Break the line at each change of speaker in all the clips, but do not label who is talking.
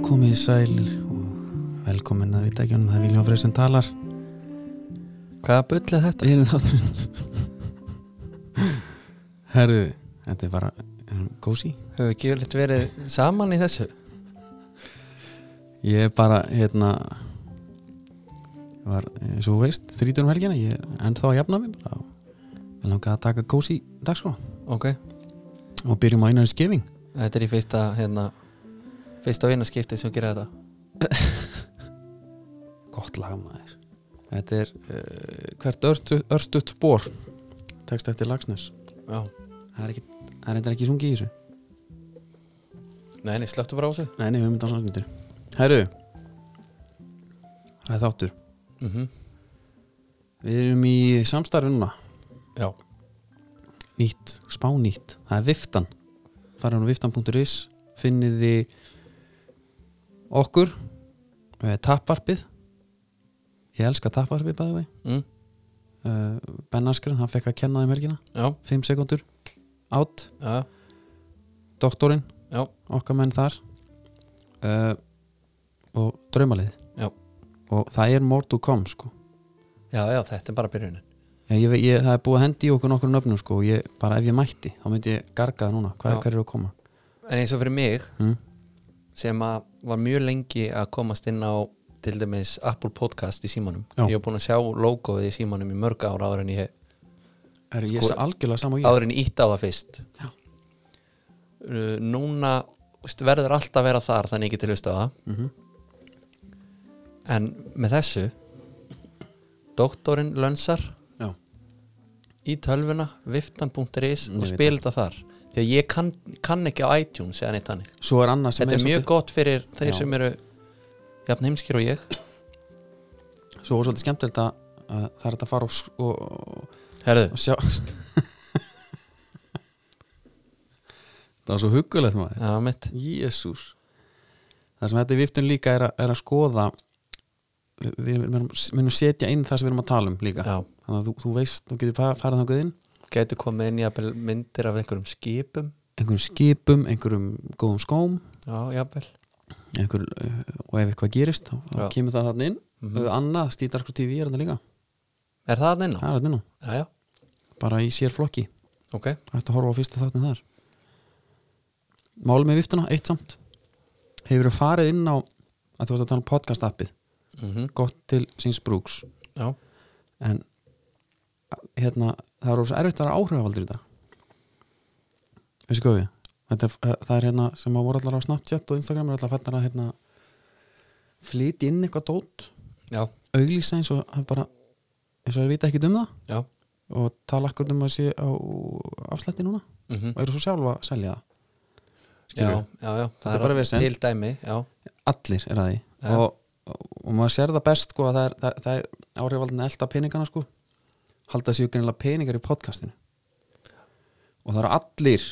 komið í sæl og velkomin að vita ekki um það Viljón Freyr sem talar
Hvaða bull er þetta?
Ég er þátturinn Herðu, þetta er bara gósi
Hefur við ekki yfirleitt verið saman í þessu?
Ég er bara, hérna ég var, eins og þú veist, þrítur um helgina ég er ennþá að jafna mig bara Ég langa að taka gósi dagskóla
Ok,
og byrjum á einari skefing
þetta er í fyrsta hérna, fyrsta og eina skipti sem gera þetta
Gott lagmaður Þetta er uh, hvert örstu, örstutt spór Tekst eftir Lagsnes
Já,
Það er ekki, það er reyndar ekki sungið í þessu
nei, nei, slöttu bara á þessu
Nei, nei, við höfum þetta á samstundir Herru Það er þáttur
mm
Við erum í samstarfi núna
Já,
Nýtt, spá nýtt Það er viftan Farið á viftan.is Finnið þið okkur eh, Tapparpið Ég elska tapparpið bæði
mm,
vei Eh, Ben Askren, hann fekk að kenna þeim helgina
já,
5 sekundur Átt,
já,
doktorinn
já,
okkar menn þar uh, og draumalið
Já.
og það er more to come sko
já, já, þetta er bara byrjunin
ég, ég, ég, það er búið að hendi í okkur nokkur nöfnum sko og ég, bara ef ég mætti þá myndi ég garga það núna hvað
Já.
hver eru að koma
En eins og fyrir mig
Mm.
sem að var mjög lengi að komast inn á til dæmis Apple Podcast í símanum
Já.
Ég hef búin að sjá logoið í símanum í mörg ára áður en ég
er, ég
Sko-
er algjörlega sama og ég
áður en ítt á það fyrst
Já.
Uh, núna veist, verður allt að vera þar þannig ég geti hlust á það
Mhm.
en með þessu doktorinn lönsar
Já.
í tölvuna viftan.is
Ég
og
veit
spila þetta þar því að ég kann, kann ekki á iTunes eða neitt þannig
svo er annað sem
þetta er mjög
svolítið,
gott fyrir þeir
Já.
sem eru jafn heimskir og ég
svo er svolítið skemmtilegt að að það er hægt að fara og, s- og,
herðu,
og sjá það var svo huggulegt maður
já mitt
Jésús Það sem þetta í viftun líka er að, er að skoða við, við erum- munum setja inn það sem við erum að tala um líka
já,
þannig að þú, þú veist, þú getur fa- farið þangað inn
gæti komið inn jafnvel myndir af einhverjum skipum
einhverjum skipum, einhverjum góðum skóm
já, jafnvel
einhver, og ef eitthvað gerist þá, þá
Já.
kemur það þarna inn mm
Mhm.
-hmm. Annað stíðdarkur TV er þarna líka
er það hann inn á?
það er þarna inn á,
já, já,
bara í sér flokki
ok
eftir að horfa á fyrsta þáttin þar Mál með viftuna, eitt samt hefur þú farið inn á að þú varst að tala um podcast appið
mm
gott til síns brúks
já,
en hérna, það er svo erfitt að vera áhrifavaldur í dag veistu hvað við þetta, er- það er hérna sem að voru allar á Snapchat og Instagram er allar fættar að hérna flytja inn eitthvað dót
já,
auglýsa eins og að bara eins og þeir vita ekkert um það
já
og tala akkur um að sé á afslætti núna
mm
og eru svo sjálfa að selja það
já,
Skilurðu?
já, já,
Þetta er bara
allt
vesen.
til dæmi já,
allir er að því
Já.
og, og, og maður sér það best sko að það er, það, það er áhrifaldin að elda peningana sko halda sér greinilega peningar í podcastinu og það eru allir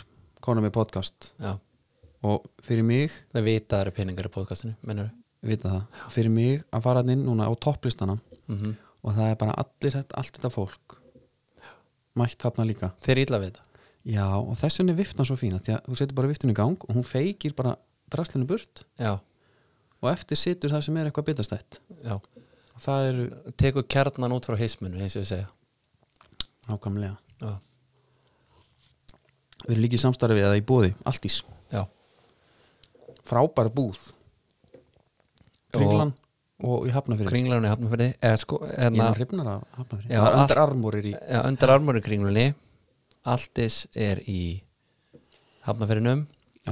konum með podcast
já,
og fyrir mig,
það vita það eru peningar í podcastinu mennur
vita það fyrir mig að fara þarna inn núna á topplistana
mm -hmm.
og það er bara allir þetta- allt þetta fólk mætt þarna líka
þeir ítla við þetta
já og þess vegna er viftan svo fína því að þú setur bara viftinu í gang og hún feikir bara draslinu burt
já,
og eftir situr það sem er eitthvað bitastætt
já,
og það eru
tekur kjarnan út frá heisminu eins og ég segja
nákvæmlega
já,
Við erum líka í samstarfið eða í bóði, Altís
já,
Frábær búð Kringlan og, í Hafnafyrir Kring,
kringlunni hafnafyrði eða sko,
Ég
hérna
er hrifnar af Hafnafyrir
Já,
Það er
allt-
andar armórir í
ja, undir armóri kringlunni alltis er í hafnafyrðinum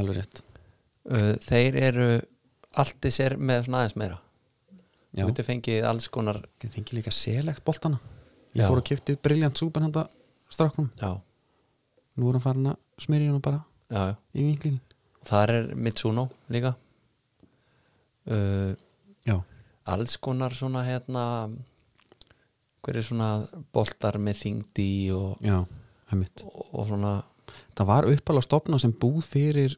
alveg rétt
þeir eru alltis er með svona aðeins meira
Já,
þú getur fengið alls konar
ég þengi líka selegt boltana Ég
Já.
fór og kefti briljant súpan handa stráknum
já,
Nú er hann farin að smyrja hann bara
já, já
í vinklin
þar er Mitsuno líka uh,
Já,
alls konar svona hérna hver er svona boltar með þingdi og,
já, hemmitt
og, og svona
Það var uppalega stopna sem búð fyrir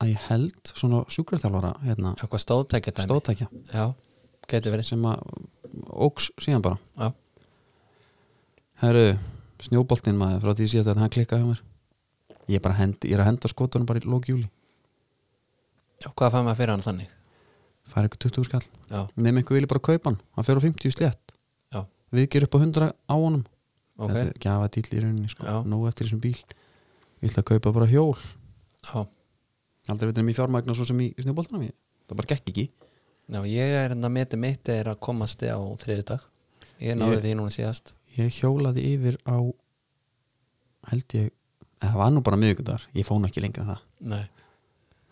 að ég held svona sjúkraþjálfara hérna,
eitthvað stóðtækja dæmi
stóðtækja
já, getur verið
sem að óks síðan bara
já,
Herru, snjóboltinn maður frá því síðast að hann klikkaði hjá mér Ég er bara hend, ég er að henda skotunum bara í lók júli
já hvað fæði maður fyrir hann þannig
fær eitthvað 20 skall
já,
nefnum eitthvað vilja bara kaupa hann, hann fer á 50 slétt
Já.
við gerum upp á 100 á honum
ok
þetta er gjafa dýl í rauninni sko,
Já.
nóg eftir þessum bíl ég ætla að kaupa bara hjól
já.
aldrei veitum í fjármagna svo sem í snjóboltanum það bara gekk ekki
já, ég er hérna meti mitt er að komast á þriðudag ég náði
Ég-
því núna síðast
ég hjólaði yfir á held ég eða það var nú bara miðvikundar, ég fóna ekki lengra en það
Nei,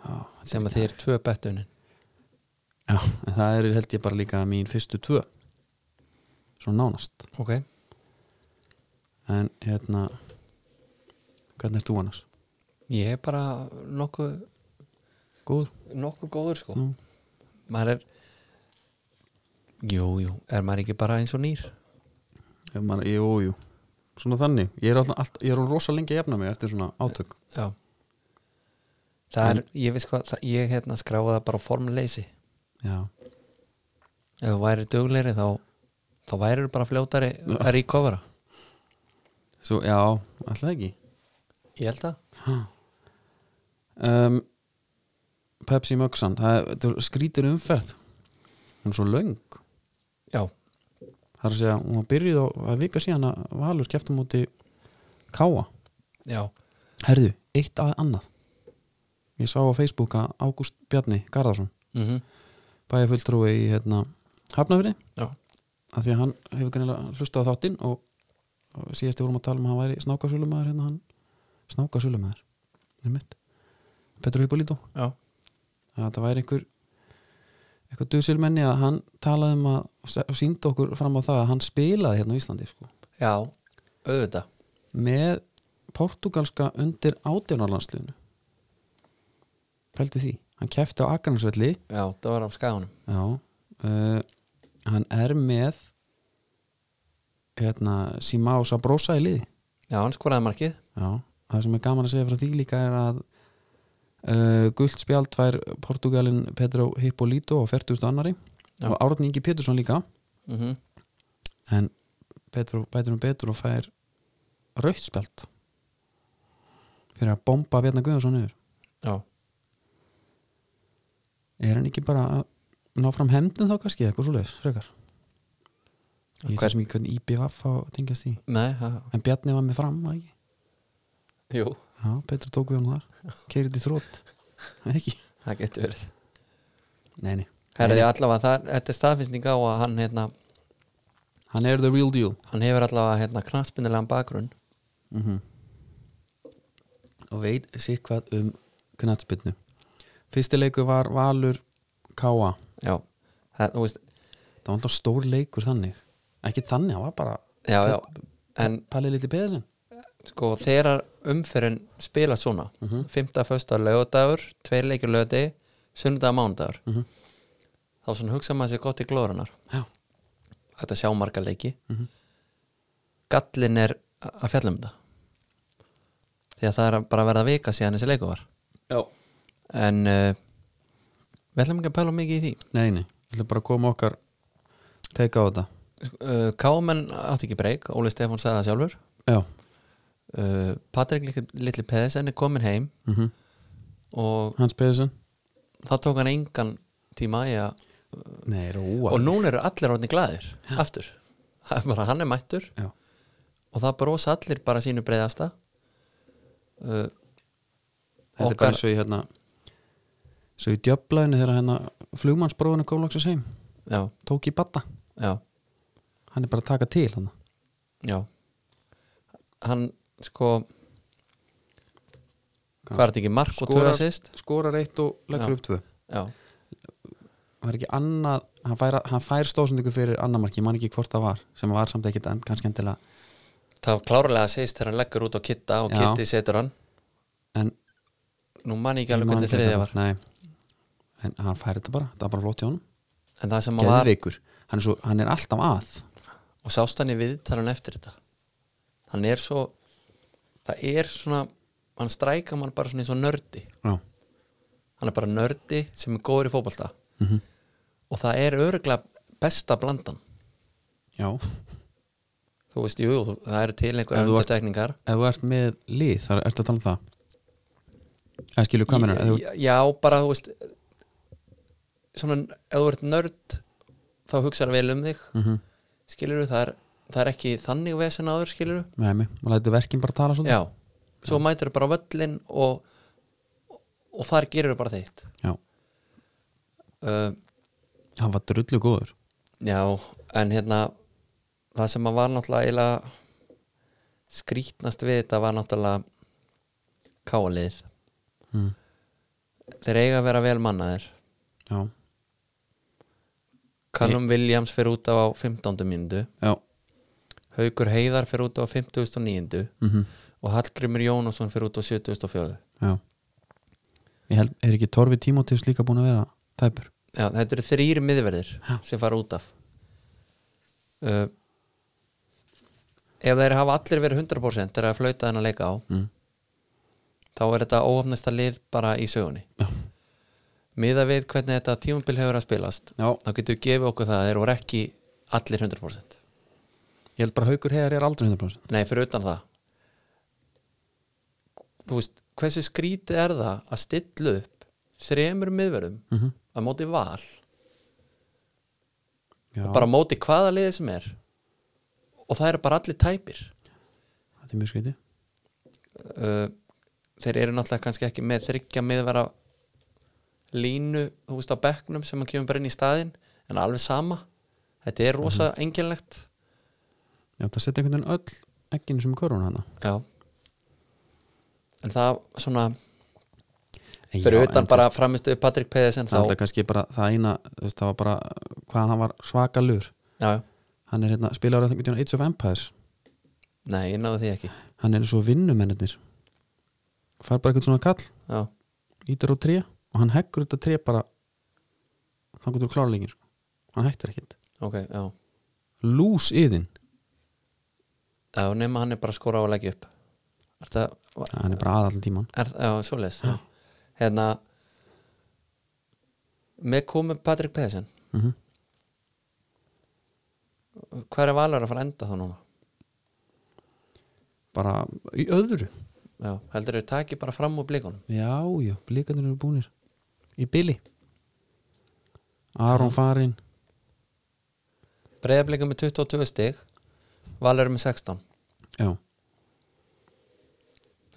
Já, þetta er
sem að
ekki-
þið er tvö bettunin
Já, en það er held ég bara líka mín fyrstu tvö svona nánast
ok,
en hérna hvernig ert þú annars?
ég er bara nokkuð
Góður?
nokkuð góður sko
Nú.
maður er jú, jú, er maður ekki bara eins og nýr
Ef maður- Jú, jú, svona þannig ég er, alltaf, alltaf, ég er orðinn rosa lengi að jafna mig eftir svona átök
já það er, ég veist hvað, það, ég hérna skráði það bara á formleysi
Já,
ef þú væri dugleiri þá þá væri bara fljótari að ríkofra
Svo, já alltaf ekki
ég held að,
um, Pepsi Möxan það er- þetta er skrítir umferð hún er svo löng
já,
það er að segja, hún var byrjuð á að vika síðan að Valur keftum úti Káa
já,
Herðu, eitt að annað Ég sá á Facebook að Ágúst Bjarni Garðarsson,
mhm
bæjarfulltrúi í hérna, Hafnafri
já,
af því að hann hefur greinilega hlustað á þáttinn og, og síðast ég vorum að tala um að hann væri snákasölumæður hérna hann snákasölumæður, nefnitt Petru Hippolito,
já,
að það væri einhver eitthvað duðsilmenni að hann talaði um að síndi okkur fram á það að hann spilaði hérna á Íslandi sko,
já auðvitað,
með portugalska undir átjónarlandsliðinu pældi því hann kefti á Akarnasvelli
já, það var á skaganum
já uh, hann er með hérna Simao Sabrosa í liði
já, hann skoraði markið,
já, það sem er gaman að segja frá því líka er að uh, gult spjald fær Portugalin Pedro Hippolito á 40. annari
Já.
og Árni Ingi Pétursson líka
mhm
en Petru, Petru um betur og fær rautt spjald fyrir að bomba Bjarnar Guðjónsson yfir
já,
er hann ekki bara að ná fram hefndin þá kannski eða eitthvað svoleiðis frekar ég veit
Hvern-
svo sem ekki hvernig IBVF á tengjast því
nei, það,
en Bjarni var með fram, var ekki?
jú
Já, Petru tók við hann þar keirið í þrótt, ekki?
það getur verið
Nei, nei,
Herði allavega, það, þetta er staðfinnning á að hann, hérna,
hann er the real deal
hann hefur allavega hérna, knastbindilegan bakgrunn
og veit sér hvað um knattspilnu fyrsti leikur var Valur Káa,
Já, það, þú veist
það var alltaf stór leikur þannig ekki þannig, það var bara
Já, já, en
Palli Lili Pedersen
sko þegar umferðin spila svona mm -hmm. 5. fösta lögadagur, tveir leikir lögadi sunnudag mánudagur
Mhm.
þá svona hugsa maður sér gott í glórunar
Já. Mhm.
þetta sjá marga leiki gallin er a- að fjalla um þetta því að það er að bara að verða vika síðan þessi leiku var
Já.
en uh, við ætlum ekki að pæla mikið í því
Nei, nei, ég ætla bara að koma okkar teika á þetta
uh, Kámen átti ekki breyk Óli Stefán sagði það sjálfur
Já,
uh, Patrik Litli- Litli Pedersen er komin heim
mm
og
Hans Pedersen
það tók hann engan tíma í að
Nei, róa
og núna eru allir orðin glæðir aftur, Það er bara hann er mættur
Já.
og það brosa allir bara sínu breiðasta uh,
Þetta er
okkar-
bara eins og í hérna Svo í djöflaðinu þegar hérna flugmannsbróðinu kom loksins heim
já,
Tók í batta,
já,
hann er bara að taka til hann
já hann sko hvað er þetta ekki mark og
Skorar-
tóra sýst
Skorar eitt og leggur
Já.
upp tvö
já,
Það er ekki annað, hann fær, hann fær stóðsendingu fyrir annamarki, ég man ekki hvort það var sem var samt ekkit en kannski endilega
það var klárlega sýst þegar hann leggur út á kitta og
Já.
kitti setur hann
en
nú man ég ekki
ég
alveg
man
hvernig
ekki
þriðja
hvað
var
það Nei, en hann fær þetta bara, það er bara flott hjá honum
en það sem hann var
Geðveikur, hann, er svo- hann er alltaf að
og sást hann í viðtalan eftir þetta hann er svo það er svona, hann stræka mann bara svona eins og nördi
Já,
hann er bara nördi sem er góður í fótbolta
Mhm.
og það er öruglega besta blandan
já
þú veist, jú, þú- það eru til
Ef
einhverja
þú ert-
undirtekningar
ef þú ert með lið þar ertu að tala um það eða skilur hvað meina
já, bara, þú veist svona, ef þú ert nörd þá hugsar vel um þig
mm -hmm.
skilur það er, það er ekki þannig vesen áður skilur
Nei, mig, maður lætur verkin bara tala svolítið
já, svo mætir bara á völlin og, og þar gerir bara þitt
Já.
uh,
Hann var drullu góður
já, en hérna það sem að var náttúrulega eiginlega skrítnast við þetta var náttúrulega káalið
mm.
þeir eiga að vera vel mannaðir
Já,
Callum Williams fyrir út af á 15. mínútu
já
Haukur Heiðar fyrir út á 50.9
mm
og Hallgrimur Jónasson fyrir út á 70.4
Já Ég held, er ekki Torfi Tímótius líka búin að vera tæpur?
Já, þetta eru þrýri miðverðir sem fara út af uh, Ef þeir hafa allir verið 100% þegar að flauta þennan leika á
Mm.
þá er þetta óhafnasta lið bara í sögunni
Já.
Miða við hvernig þetta tímabil hefur að spilast
Já,
þá getur við gefið okkur það að þeir voru ekki allir 100%
ég held bara haukur heiðar er aldrei 100%
Nei, fyrir utan það Þú veist, hversu skrítið er það að stilla upp þremur miðverðum
mm -hmm.
að móti val
Já,
bara á móti hvaða liði sem er og það eru bara allir tæpir
þetta er mjög skriti
uh, þeir eru náttúrulega kannski ekki með þryggja miðvara línu þú veist á bekknum sem hann kemur bara inn í staðinn en alveg sama þetta er rosa einkennlegt
Já, það setja einhvern veginn öll ekkinu sem korun hana
já en það svona
En
fyrir
já,
utan
en
bara framistu Patrik Pedersen
Það er
þá,
alltaf kannski bara það eina þú veist, það var bara hvað hann var svakalur
já,
hann er hérna, spilaður að það Age of Empires
nei, ég náðu því ekki
hann er svo vinnumennir fær bara eitthvað svona kall
já,
ítar á tré og hann heggur þetta tré bara þá getur klárleikin sko. hann hættir ekkert
ok, já
lús yðin,
já, nema hann er bara að skora á að leggja upp er það,
hann er bara aðall tíman
Er, já, svoleiðis já. Hérna með komið Patrik Pedersen
mm -hmm.
hver er valur að fara að enda þá núna?
bara í öðru
Já, heldur þau taki bara fram úr blikunum
já, já, blikandir eru búnir í bili Aron Farin
Breiðablikum með 22 stig Valur með 16
já,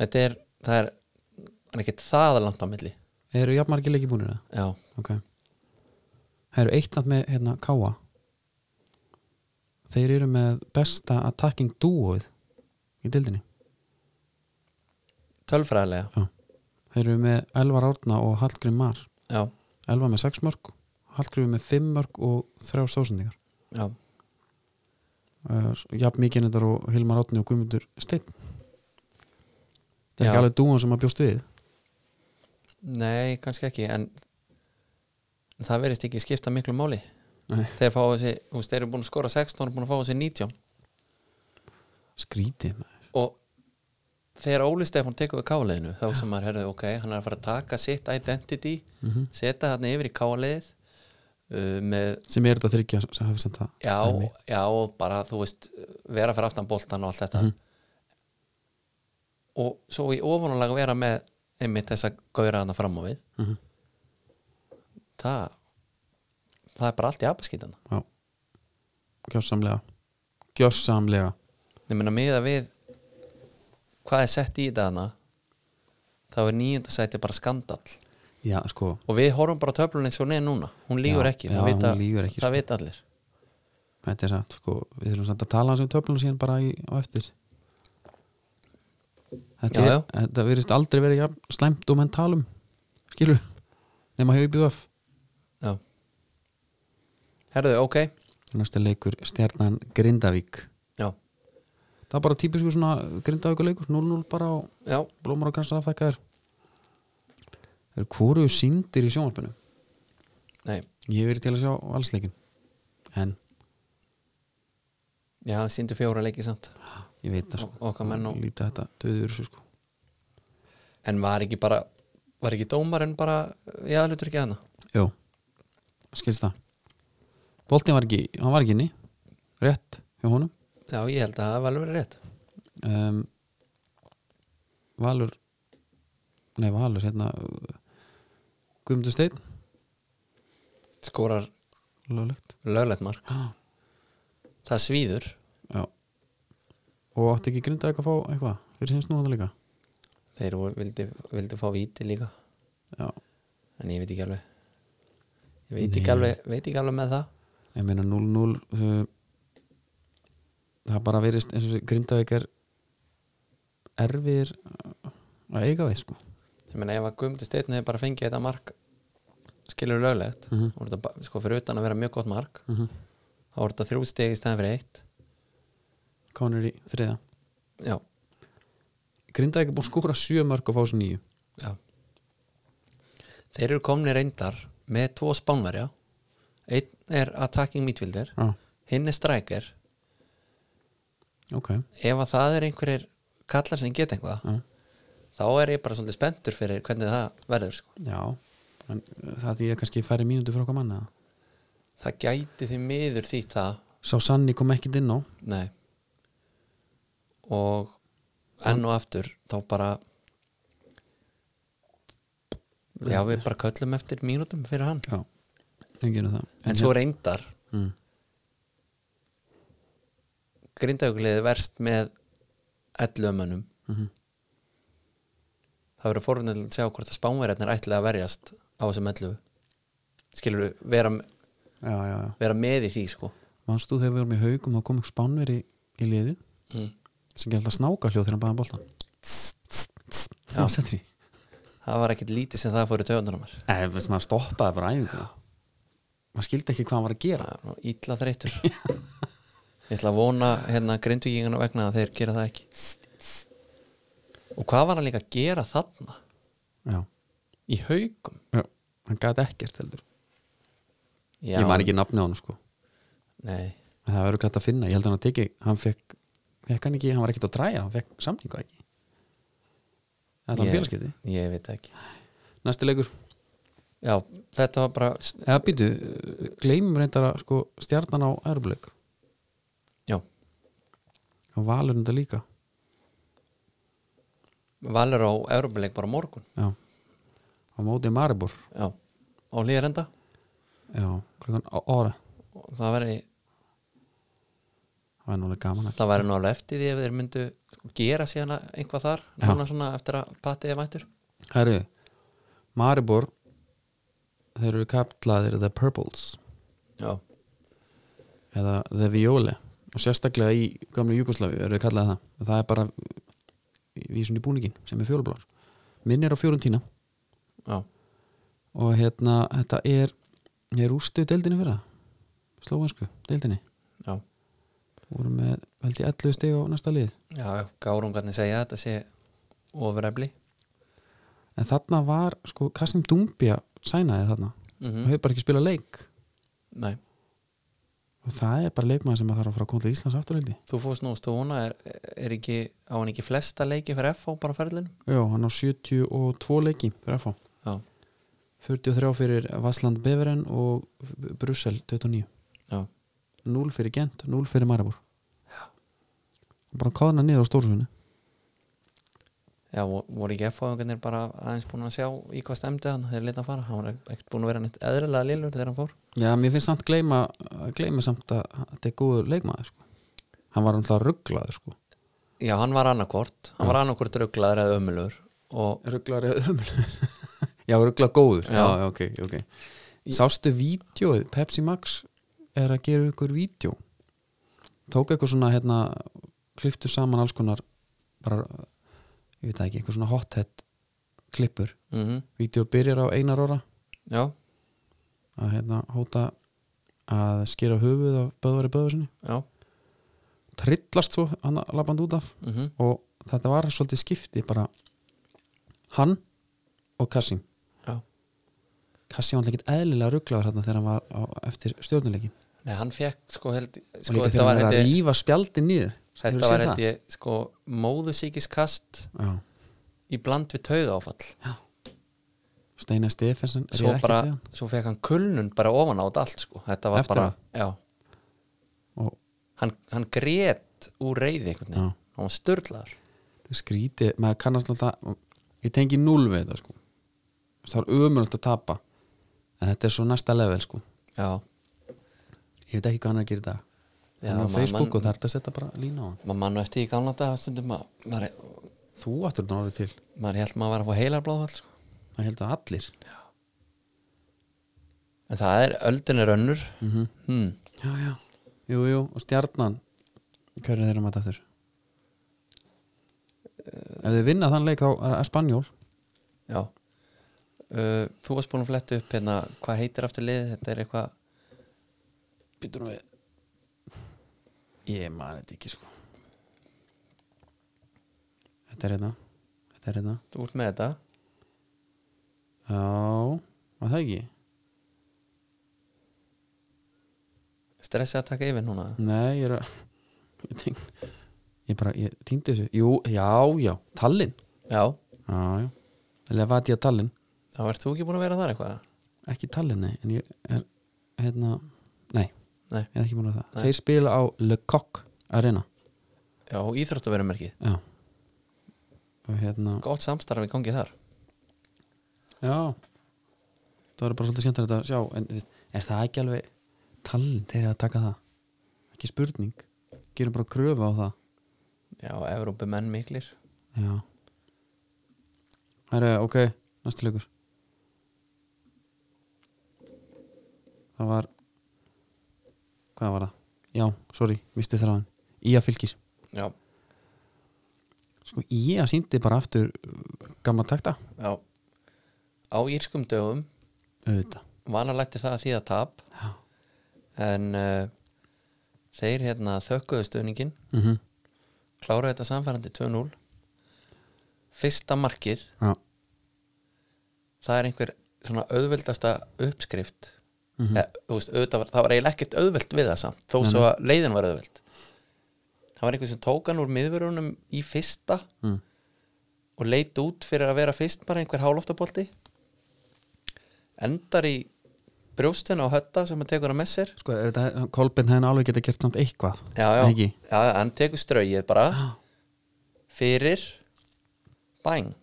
Þetta er, það er, er ekki það langt á milli
eru jafnmargil ekki búnir það?
Já,
ok það eru eitt nátt með hérna Káa þeir eru með besta attacking duoð í dildinni
tölfræðilega
þeir eru með Elvar Árna og Hallgrim Mar
Já,
Elvar með 6 mörg Hallgrim með 5 mörg og 3 stóðsendingar
já,
uh, jafn mikið þetta og Hilmar Árni og Guðmundur Steinn það er
Já.
ekki alveg dúan sem að bjóst við
nei, kannski ekki en það verðist ekki skipta miklu máli
Nei.
þegar fáið þessi, þú veist, þeir eru búin að skora 16 og búin að fá þessi 19
skrítið maður.
og þegar Óli Stefán tekur við káliðinu þá sem maður herði ok, hann er að fara að taka sitt identity,
Mhm.
setja hann yfir í kálið uh, með
sem er þetta þryggja sem hafi sent það
já,
dæmi.
já, bara þú veist vera fyrir aftan boltan og allt þetta
Mhm.
og svo í ofanulega vera með einmitt þess að gauðra hann fram á við
Mhm.
það það er bara allt í apaskýtana
já gjörsamlega gjörsamlega
ég meina miða við hvað er sett í þetta hana þá er nýjöndasæti bara skandall
já sko
og við horfum bara á töflun eins og neð núna hún lígur
Já,
ekki,
já,
það, vita,
hún lýgur ekki, sko.
það vita allir
Þetta er satt, sko, við þurfum samt að tala hans um töflunum síðan bara í, á eftir Þetta,
Já,
er,
já.
þetta virðist aldrei verið jafn slæmt og menn talum skilur, nema hefur bjóð af
já. herðu, ok
næsta leikur stjarnan Grindavík
já,
það er bara típisku svona Grindavíkuleikur 0-0 bara á
já,
blómar og kransar afþekka þér Það eru hvoruðu síndir í sjónvarpinu
nei
ég hef verið til að sjá valsleikin en
já, hann sýndu fjóra leiki samt
ég veit það sko
Og- okkar menn og-
lítið þetta döður þessu sko
en var ekki bara, var ekki dómarinn bara, já, hlutur ekki hana
Jó, skilst það Boltin var ekki, hann var ekki inni Rétt hjá honum
já, ég held að það var alveg verið rétt
um, Valur Nei, Valur, hérna uh, Guðmundur Steinn
skorar
löglegt
löglegt mark
Já.
það svíður,
Já. og átti ekki grinda að fá eitthvað fyrir sinns núna líka
þeir voru- vildu, vildu fá víti líka
Já.
en ég veit ekki alveg ég veit ekki
Nei.
alveg, veit ekki alveg með það
ég meina 0-0 uh, það bara verist eins og grindaðik er erfir að eiga við sko
ég meina ef að Guðmundur Steinn hefur bara fengið þetta mark skilur löglegt
uh -huh.
og þetta ba- sko fyrir utan að vera mjög gott mark
Mhm.
þá voru þetta þrjú steg í stæðan fyrir eitt
Conor í þriða
já,
grindaðik er búin að skóra sjö mörg og fá sér nýju
já þeir eru komni reyndar með tvo spánverja einn er attacking midfielder
ah,
hinn er striker
ok
ef að það er einhverjir kallar sem geta eitthvað
Já.
þá er ég bara svolítið spenntur fyrir hvernig það verður sko.
já en uh, það því að kannski færi mínútu frá okkar manna
það gæti því miður því það
sá Sanni kom ekkit inn á
nei og enn og aftur þá bara já við bara köllum eftir mínútum fyrir hann
já, enginn um það
en svo reyndar
mm,
grindaugleði verst með 11 mönnum
mm
það verður forvinnið að sjá hvort að spánverðarnir ætla að verjast á þessum 11 skilur vera,
já, já, já
vera með í því sko
manstu þegar við vorum í haugum þá kom ekki spánveri í liði
mm.
sem gælt að snáka hljóð þegar hann bæði boltan
Já.
það settir í
það var ekkit lítið sem það fór í töðunum mér
Nei, Eh, þú veist, maður stoppaði bara æfingu maður skildi ekki hvað hann var að gera
Það er nú illa þreytur ég ætla að vona hérna grindvíkingana vegna að þeir gera það ekki og hvað var hann líka að gera þarna
já,
í haukum
já. hann gæti ekkert heldur
Já,
ég man ekki nafni á hann sko
nei,
en það verður gæti að finna, ég held að hann teki hann fekk, fekk hann ekki, hann var ekkert að dræja hann fekk samningu ekki þetta var
Ég-
félagskipti,
ég veit það ekki
næsti leikur
já, þetta var bara
eða býtu, gleymum reyndar að sko stjarnan á erfleik
já,
og valur þetta líka
valur á Európa-leik bara á morgun
já, á móti Maribor
já, á hlýðarenda
já, klukkan á- ára
og það væri,
það var nálega gaman að
það væri nú alveg eftir því ef þeir myndu sko, gera síðan einhvað þar
Já.
núna svona eftir að patið er mættur
Herru, Maribor þeir eru kallaðir The Purples
já,
eða The Viole og sérstaklega í gamlu Júkoslavi eru þeir kallaði það og það er bara vísun í búningin sem er fjólublár minn er á fjóruntína
já,
og hérna þetta er ég rústu deildinni fyrra slóvansku deildinni
já
voru með held ég 11 stig á næsta lið
já, já, gárungarnir segja að þetta sé ofrefli
en þarna var sko Kassim Dumbia sænaði þarna
mm
og hefur bara ekki spilað leik
Nei,
og það er bara leikmaður sem að þarf að fara að koma til Íslands afturhaldi
þú fórst nú stóna er, er ekki, á hann ekki flesta leiki fyrir FH bara á ferðlinum?
Já, hann á 72 leiki fyrir FH
Já,
43 fyrir Vassland Beveren og Brussel 29
já,
0 fyrir Gent, 0 fyrir Maribor og bara káðna niður á stórsvunni
já, vo- voru ekki FH-ungarnir bara aðeins búin að sjá í hvað stemdi hann þegar lita að fara, hann var ekkert búin að vera neitt eðrilega lillur þegar hann fór
Já, mér finnst samt gleyma, gleyma samt að þetta er góður leikmaður sko. hann var alltaf rugglaður sko.
Já, hann var annarkvort, hann var annarkvort rugglaður eða ömulur og
rugglaður eða ömul Já, rugglað góður
Já.
Já, ok, ok Sástu vídjóið, Pepsi Max er að gera ykkur vídjó tók eitthvað svona hérna kliftu saman alls konar bara, ég veit það ekki, eitthvað svona hothead klippur,
mm
vídjó byrjar á einar ára
já,
að hérna hóta að skera höfuð af böðvari böðvarsinni
já
trillast svo hann labband út af
mm
og þetta var svolítið skipti bara hann og Kassim
já.
Kassi var ekkert eðlilega rugglaður hérna þegar hann var á, eftir stjórnuleikin
Nei, hann fekk sko held
og
sko,
líka
þetta
þegar
var
hann var að
held ég-
rífa spjaldin niður
þetta var held ég sko móðusíkiskast
já,
í bland við tauga áfall
Steinar Stefensen er
svo
ég ekki
bara,
til hann
svo fekk hann kulnun bara ofan á þetta allt sko þetta var
Eftir
bara,
það?
já
og
hann, hann grét úr reyði einhvern veginn,
Já.
hann var störlaður
það er skrítið, maður kannast alltaf ég tengi núl við þetta sko það er ömulegt að tapa en þetta er svo næsta level sko
já,
ég veit ekki hvað hann er að gera í dag
Já,
hann er á
maður-
Facebook
mann-
og það er þetta að setja bara lína á hann
maður mann eftir í gamla dag stundum að maður,
þú áttur þetta orðið til,
maður held maður var að fá heilarblóðfall sko.
það held að allir
en það er, öldin er önnur
mm
hmm.
já, já, jú, jú, og stjarnan hverju þeirra maður þetta ef þið vinna þann leik þá er það spanjól
já uh, þú varst búin að fletta upp hérna hvað heitir aftur liðið, þetta er eitthvað
býtur nú við ég maður þetta ekki sko þetta er hérna þetta er hérna
þú ert með þetta
já, var það ekki
stressið að taka yfir núna
Nei, ég er að ég, tenk, ég bara, ég týndi þessu Jú, já, já, Tallinn
já,
Já, já, eða vat ég að Tallinn
þá ert þú ekki búin að vera þar eitthvað
Ekki Tallinn, nei, en ég er hérna, nei,
Nei.
ég er ekki múin að það
Nei.
Þeir spila á Le Coq Arena
já, íþróttu verið merkið,
Já Og hérna,
gott samstarf í gangi þar
já Það var bara svolítið skemmtilegt að sjá En þú veist, er það ekki alveg Tallinn, þeir eru að taka það Ekki spurning, gerum bara kröfu á það
já, Evrópu menn miklir
Já Það er ok, næstu leikur Það var Hvað var það? Já, sorry, misti þráðan Ía fylgir
já,
Sko, Ía síndi bara aftur uh, gamla takta
já á írskum dögum
Auðvitað
vanalætti það að þýða tap
Já.
en uh, þeir hérna þökkuðu stöðningin
mm -hmm.
kláruðu þetta samfærandi 2-0 fyrsta markið
Já,
það er einhver svona auðveldasta uppskrift mm
Mhm.
þú veist, auðvitað, var- það var eiginlega ekkert auðveld við það samt, þó svo að leiðin var auðveld það var einhver sem tók hann úr miðverunum í fyrsta
mm.
og leit út fyrir að vera fyrst bara einhver hálóftabolti endar í brjóstin á hötta sem hann tekur að með sér
Sko, auðvitað, Kolbeinn hefði alveg geta gert samt eitthvað
já, já,
Ekki?
já, já, hann tekur strauið bara fyrir bæn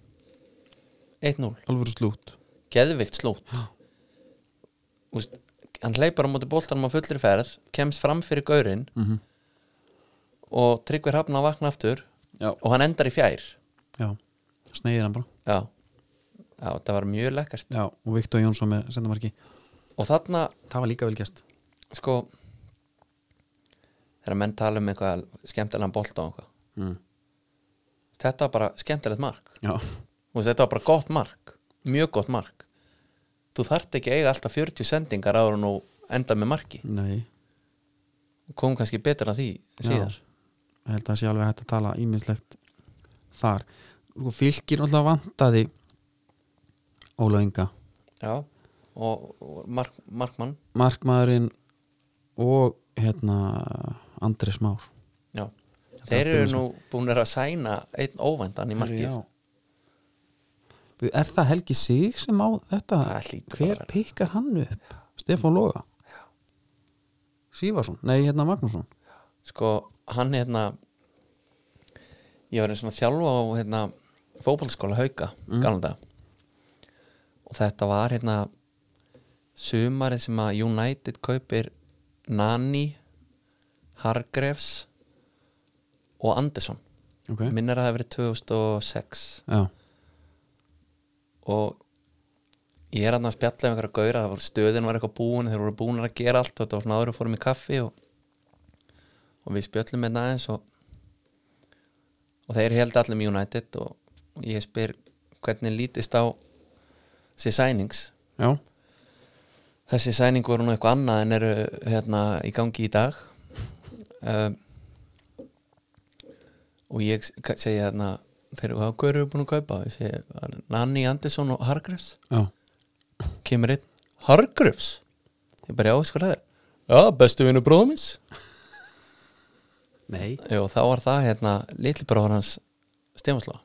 1-0,
Alvöru slút
geðvikt slútt Úst, hann hleypar á móti boltanum á fullri ferð kemst fram fyrir gaurinn
mm -hmm.
og tryggvir hafna að vakna aftur
Já,
og hann endar í fjær
já, sneiðir hann bara
já, já það var mjög lekkert
Já, og Viktor Jónsson með sendamarki
og þarna
Það var líka vel gert
sko þegar menn tala um eitthvað skemmtilegan bolta og eitthvað
mm.
þetta var bara skemmtilegt mark
Já,
Þú veist, þetta var bara gott mark, mjög gott mark þú þarft ekki að eiga alltaf 40 sendingar ára nú enda með marki
nei
kom kannski betur að því síðar
ég held að það sé alveg hægt að tala ímislegt þar sko, fylgir náttúrulega vantaði Óla Inga
já, og, og mark, markmann
markmaðurinn og hérna Andrés Már
já.
Þetta
þeir
er
eru
spilum
nú búinir að sæna einn óvændan í markið
Já. er það Helgi Sig sem á þetta
Það hlýtur bara
hver
að vera.
pikkar hann upp Stefán Loga Sývarsson, nei hérna Magnússon
sko, hann hérna ég var einn svona þjálfa á hérna, fótballskóla hauka mm. galanda og þetta var hérna sumarið sem að United kaupir Nani Hargreaves og Anderson
ok,
minnir að það hafi verið 2006
já,
og ég er hann að spjalla um einhverja gauðra, það var stöðin var eitthvað búin þeir voru búin að gera allt og þetta var svona áður og fórum í kaffi og, og við spjöllum með aðeins og, og þeir held allir með United og, og ég spyr hvernig lítist á þessi sænings
já,
þessi sæning voru nú eitthvað annað en eru hérna í gangi í dag um, og ég s- ka- segi hérna þeir eru hvað eru búin að kaupa ég segi, "Það er Nanni Andersson og Hargreifs
já
kemur einn Hargröfs ég bara já, sko leður já, bestu vinnu bróðum minns
nei,
og þá var það hérna litli bróður hans Stefansla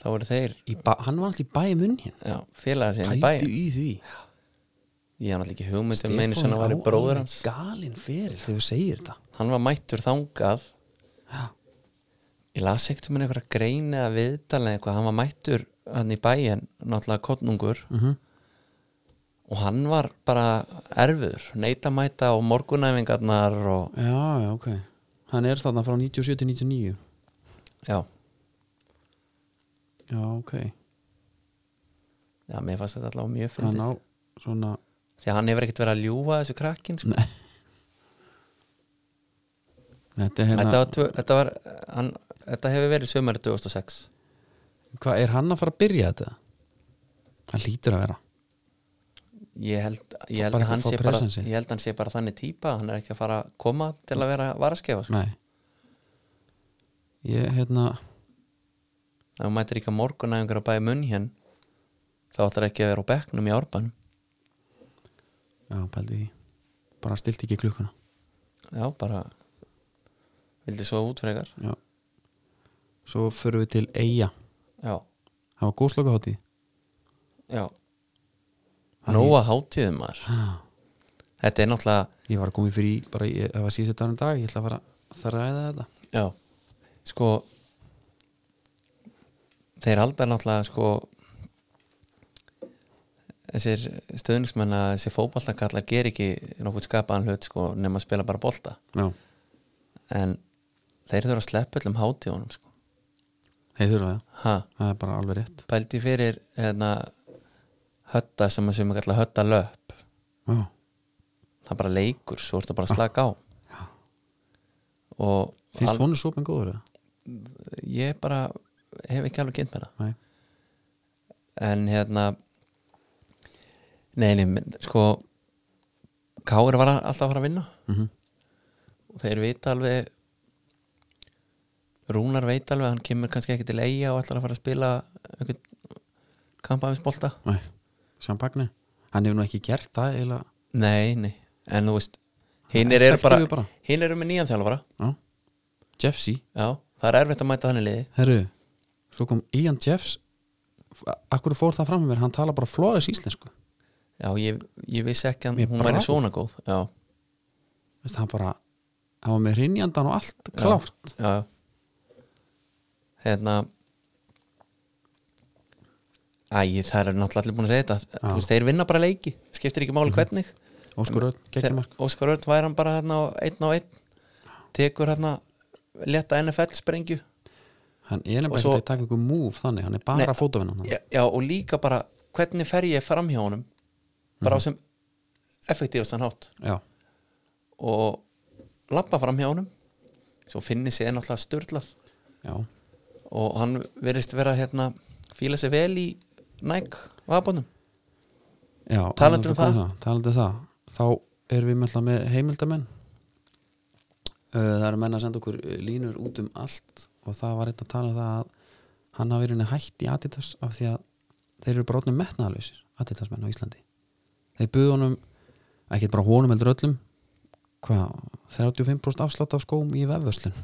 þá voru þeir
Í ba- hann var alltaf í bæi munn hér
já, félagar síðan í
pældu
bæin
í því
ég hann alltaf ekki hugmynd um einu
Stefán
sem var
á
í bróður
alveg
hans
galinn fyrir þegar þú segir þetta
hann var mættur þangað
Já.
ég las ekkert um einhverja grein eða viðtal eða eitthvað, hann var mættur hann í bæin, náttúrulega kottnungur
mm -hmm.
og hann var bara erfiður neitamæta og morgunæfingarnar og
já, já, ok hann er þarna frá 97 til 99
já,
já, ok,
já mér fannst þetta allavega mjög
hann
fyndið
á svona,
því að hann hefur ekkert verið að ljúfa þessu krakkin sko.
nei þetta er
þetta,
hérna
var, tvö- þetta, var, hann, þetta hefur verið sömari 2006
hvað, er hann að fara að byrja þetta? hann lítur að vera
ég held, ég held,
bara
að
ekki
hann
að fá
sé bara,
presensi.
ég held að hann sé bara þannig típa hann er ekki að fara að koma til að vera varaskefa sko.
nei ég, hérna
ef hún mætir ekki að morgunæfingar að bæja munn hér þá ætlar ekki að vera á bekknum í árbanum
já, pældi því bara stilt ekki klukkuna
já, bara vildi svo útfregar
já. svo förum við til Eyja
já,
það var góðslöku hátíð
já,
Hann-
nóa hátíðum maður þetta er náttúrulega,
ég var að koma í fyrir í bara, ég, það var síðast þetta um dag ég ætla að fara að þræða þetta
já sko þeir aldar náttúrulega sko þessir stöðningsmenn að þessi fótballtakallar ger ekki nokkuð skapaðan hlut sko nema að spila bara bolta
já,
en þeir þurfa að sleppa öllum hátíðunum sko,
þeir þurfa það
ha
það er bara alveg rétt
pældi fyrir hérna hötta sem að sem að kalla hötta löp
já,
það er bara leikur, svo ertu bara að slaka á
Já.
og
finnst
al-
Al... honum sopin góður eða?
ég bara hef ekki alveg kynnt með
Nei.
það en hérna nei, nei, men- sko Káur var að- alltaf að fara að vinna
Mm
og þeir vita alveg Rúnar veit alveg að hann kemur kannski ekki til eiga og ætlar að fara að spila einhvern kampaðinsbolta
nei, champagne hann hefur nú ekki gert það eiginlega
Nei, nei, en þú veist
Hann
hinnir eru
effektífur
bara,
bara.
hinn eru með nýjan þjálfara
já. Jeffsy,
Já, það er erfitt að mæta þannig liði
herru svo kom Ian Jeffs akkur fór það fram með mér, hann tala bara flóðis íslensku
Já, ég, ég vissi ekki að
Mér
hún
brá.
væri svona góð Já,
Veist, hann bara, hann var með hrinjandan og allt klárt
já Hérna Æ, það er náttúrulega allir búin að segja þetta
Já.
Þú veist, þeir vinna bara leiki, skiptir ekki máli hvernig
Óskur Örn, geggjum mark
Þegar Óskar Örn væri hann bara hérna á einn á einn tekur hérna leta NFL sprengju
hann er
Og
nefnilega
svo-
ekki að taka ykkur múf þannig hann er bara
Nei,
fótavinnan
já, já, og líka bara hvernig fer ég fram hjá honum bara á sem effektífastan hátt
já,
og lappa fram hjá honum svo finnir sér náttúrulega styrlað
já,
og hann verðist vera hérna fíla sér vel í Nike vapunum
já
Talandi
hann er
um
góð
það.
talandi um það, þá erum við meðla með heimildamenn Uh, það eru menn að senda okkur uh, línur út um allt og það var eitt að tala um það að hann hafi verið hætt í Adidas af því að þeir eru bara orðnum metnaðalöysir Adidas menn á Íslandi þeir buðu honum, ekki bara honum heldur öllum hvað, 35% afslátt af skóm í vefvöslun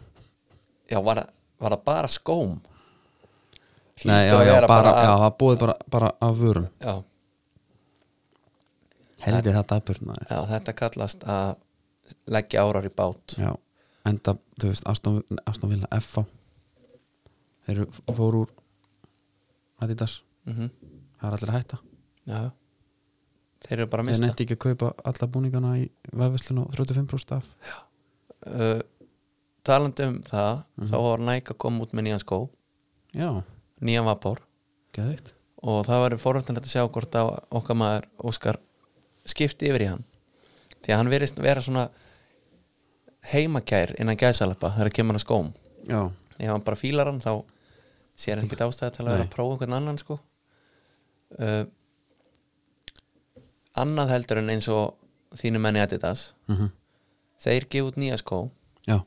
já, var, það- var það bara skóm Hlýtur
Nei, já,
að
já,
vera
bara, já,
að-
það búið bara, bara af vörum
já,
Heldi það dapurð maður
já, þetta kallast að leggja árar í bát
Já, enda, þú veist, Aston, Aston Villa FA Þeir eru- fóru úr Adidas,
mm
það er allir að hætta
já þeir eru bara að
Þeir
mista
nefndi ekki að kaupa alla búningana í vefverslun og 35% af
uh, talandi um það
Mhm.
þá var Nike að koma út með nýjan skó
Já,
nýjan vapor
geðvitt
og það var forvöldinlega að sjá hvort að okkar maður Óskar skipti yfir í hann því að hann verist vera svona heimakær innan gæsalappa þegar kemur hann að skóm
Já,
ef hann bara fílar hann þá sér hann ekki ástæði til að vera
Nei.
að prófa einhvern annan sko uh, annað heldur en eins og þínu menni Adidas
mm
þeir gefa út nýja skó
já,